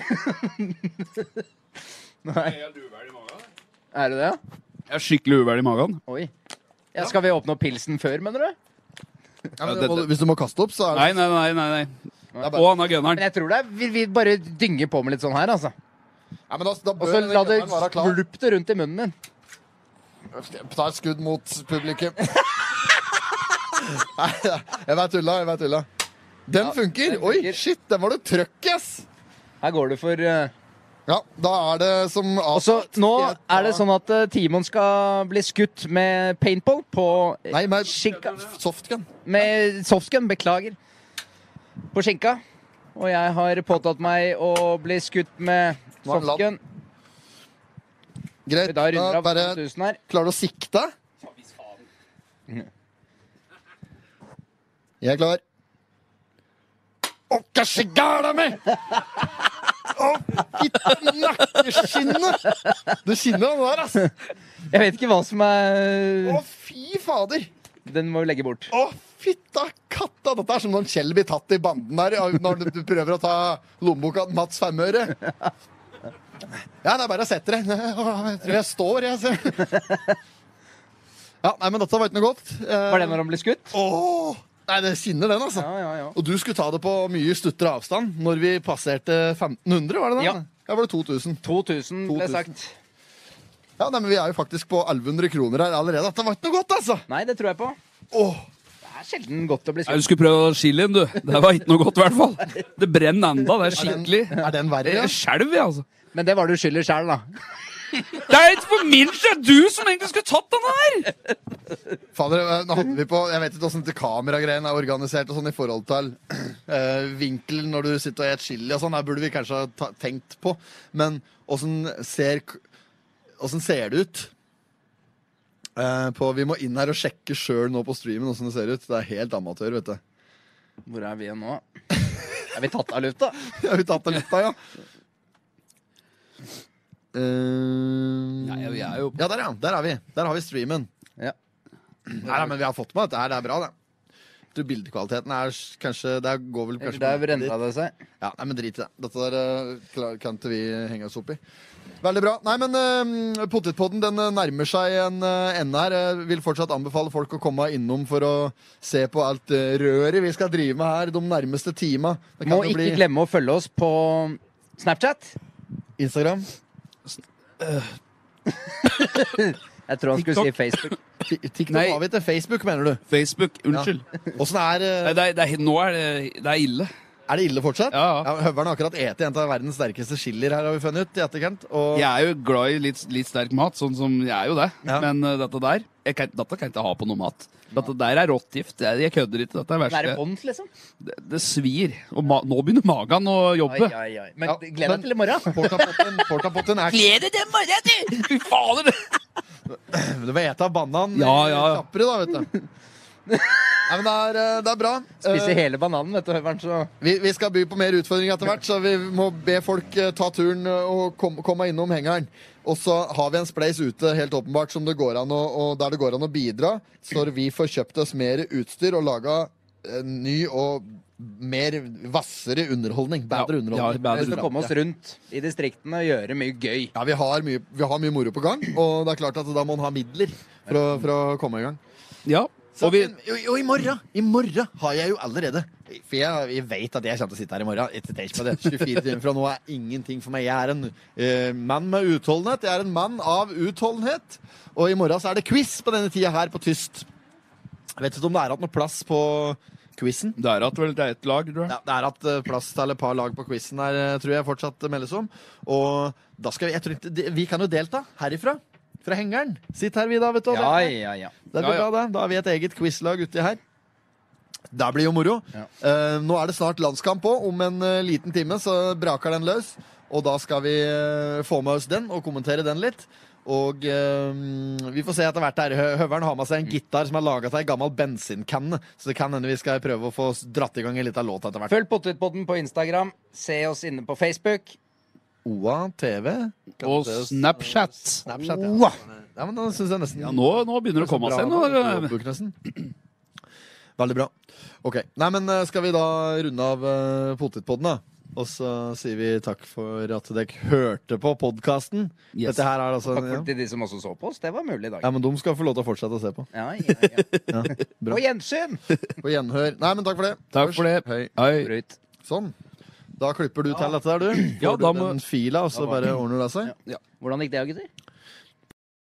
Er det det? ja?
Jeg er skikkelig uvel i magen.
Oi. Ja, skal vi åpne opp pilsen før, mener du?
Ja, men,
Ja, det-
må du- hvis du må kaste opp, så er det
Nei, nei, nei. nei, nei.
er
Å,
bare-
han er gunneren.
Men jeg tror det er Vi, vi bare dynger på med litt sånn her, altså.
ja, men da, da bør
Og så
denne
la det
gunneren være klar.
skvulpe rundt i munnen min.
Ta et skudd mot publikum. Nei, jeg bare tulla, jeg bare tulla. Den funker!
den
Oi,
funker.
shit, den var du trøkk, ass!
Her går du for eh,
Ja, da er det som
Og så
avtalt.
nå
Skal jeg ta-
er det sånn at eh, Timon skal bli skutt med paintball på eh,
Nei, med
skinka
softgun.
Med softgun, beklager. På skinka. Og jeg har påtatt meg å bli skutt med
Nå er den ladd.
softgun.
Greit.
Da runder
Da
av
bare
1000 her.
Klarer du å sikte? Jeg er klar. Å, hva skjer gæla mi?! Å, fitte nakkeskinnet! Det skinner, det der, ass.
Jeg vet ikke hva som
Å,
er
fy fader!
Den må vi legge bort.
Å, fytta katta! Dette er som når Kjell blir tatt i banden der av- når du- du prøver å ta lommeboka til Mats Femøre. Ja, det er bare å sette det. Jeg tror jeg står, jeg. Så. Ja, nei, men dette var ikke noe godt. Eh,
Var det når han ble skutt?
Åh! Nei, det skinner, den, altså.
Ja, ja, ja.
Og du skulle ta det på mye stuttere avstand når vi passerte 1500, var det det?
Ja.
Ja, var det 2000.
2000 ble
2000.
sagt.
Ja, nei, men vi er jo faktisk på 1100 kroner her allerede. Dette var ikke noe godt, altså!
Nei, det tror jeg på.
Åh!
Det er sjelden godt å bli
Nei, Du
skutt.
skulle prøve chilien, du. Det var ikke noe godt, i hvert fall. Det brenner enda. Det er
Er den,
skikkelig.
er den verre? ja?
Jeg skjelver, jeg, altså.
Men det var du skyldig sjæl, da.
Det er ikke for min skyld! Det er Du som egentlig skulle tatt den her!
Fader, eh, nå holder vi på Jeg vet ikke hvordan det kameragreiene er organisert og sånn i forhold til <clears throat> eh, vinkel når du sitter og et chili og sånn. Her burde vi kanskje ha ta- tenkt på. Men åssen ser k- Åssen ser det ut? Eh, på, vi må inn her og sjekke sjøl nå på streamen åssen det ser ut. Det er helt amatør, vet du.
Hvor er vi nå? Er vi tatt av lufta?
Har vi tatt det litt av, ja? Eh,
Nei, vi er jo
ja, der, ja. Der er vi. Der har vi streamen.
Ja.
Nei, nei, men vi har fått med dette her. Det er bra, det. Jeg tror bildekvaliteten er s- kanskje Det går vel <laughs> kanskje
Der brenna det seg.
Ja, nei, men drit i det. Dette der eh, klar- kan ikke vi henge oss opp i. Veldig bra. Nei, men uh, Potetpodden den eh, nærmer seg en eh, ende her. Jeg vil fortsatt anbefale folk å komme innom for å se på alt eh, røret vi skal drive med her de nærmeste tima. Det kan
Må
jo
ikke
bli
glemme å følge oss på Snapchat.
Instagram,
Jeg tror han skulle si Facebook.
Ti- TikTok
Nei.
har vi til Facebook, mener du.
Facebook. Unnskyld.
Åssen er eh,
Nei, det er, det er, nå er det, det er ille.
Er det ille fortsatt?
Ja, ja.
Høveren har akkurat ete en av verdens sterkeste chilier her, har vi funnet ut i etterkant. Og
Jeg er jo glad i litt, litt sterk mat, sånn som jeg er jo det.
Ja.
Men eh, dette der jeg kan, Dette kan jeg ikke ha på noe mat. Dette der er rått gift. Jeg, jeg kødder ikke. Dette er det
Nære
verste.
bånd, liksom.
Det, det svir. Og ma nå begynner magen å
Oi,
jobbe.
oi, oi. Men
Ja,
gled
men-
deg til i
<laughs>
morgen.
Portapotten portapotten er
Gleder deg morgenen, du! <laughs> Fy fader!
Du får ete av banan
Ja, ja, ja. <laughs>
kjappere, da, vet du. Nei, men det er, eh, det er bra.
Spiser
Eh,
hele bananen, vet du, Høveren, så
Vi, vi skal by på mer utfordringer etter hvert, så vi må be folk eh, ta turen eh, og kom- komme innom hengeren. Og så har vi en spleis ute helt åpenbart som det går an å, og der det går an å bidra, så vi får kjøpt oss mer utstyr og laga eh, ny og mer vassere underholdning. Bedre
Ja,
underholdning.
bedre
vi skal komme oss rundt i distriktene og gjøre mye gøy.
Ja, vi har, mye, vi har mye moro på gang, og det er klart at da må en ha midler for å, for å komme i gang.
Ja,
Så,
og vi,
men- jo, jo, i morgen I morgen har jeg jo allerede For jeg, jeg vet at jeg kommer til å sitte her i morgen etter stage på det. 24 timer fra nå er ingenting for meg Jeg er en eh, mann med utholdenhet Jeg er en mann av utholdenhet Og i morgen så er det quiz på denne tida her på Tyst Jeg vet ikke om det er hatt noe plass på quizzen
det er at vel det er et lag, tror jeg.
ja, det er at eh, plass til et par lag på quizen her, eh, tror jeg fortsatt eh, meldes om. Og da skal vi jeg tror ikke, de- Vi kan jo delta herifra. Fra hengeren. Sitt her, vi, da, vet du. og
Ja,
delta.
ja, ja.
Det blir
Ja, ja.
bra, det. Da har vi et eget quizlag uti her. Det blir jo moro.
Ja.
Eh, nå er det snart landskamp òg. Om en eh, liten time så braker den løs. Og da skal vi eh, få med oss den og kommentere den litt. Og eh, vi får se etter hvert. her Hø- Høveren har med seg en gitar som er laga av ei gammel bensinkanne. Så det kan hende vi skal prøve å få s- dratt i gang en liten låt etter hvert.
Følg Potetpodden på Instagram. Se oss inne på Facebook.
OA TV. Kan
Og
se oss-
Snapchat.
Snapchat,
Oa.
ja. ja men da syns jeg nesten
Ja, nå, nå begynner det å komme seg eh,
Bra,
noe.
Robert Knudsen. <clears throat> Veldig bra. Ok, nei, men eh, Skal vi da runde av eh, potetpodden, da? Og så sier vi takk for at dere hørte på podkasten.
Yes.
Dette her er altså
Takk for
ja.
til de som også så på oss. Det var mulig i dag.
ja, men De skal få lov til å fortsette å se på.
Ja, ja, ja.
Ja, bra.
På gjensyn!
På gjenhør. Nei, men takk for det.
Takk for det.
Hei.
Hei.
Brut.
Sånn. Da klipper du til dette der, du. Får
Ja, da
du
må-
den fila, og så
Da var-
bare ordner det seg.
Hvordan gikk det, gutter?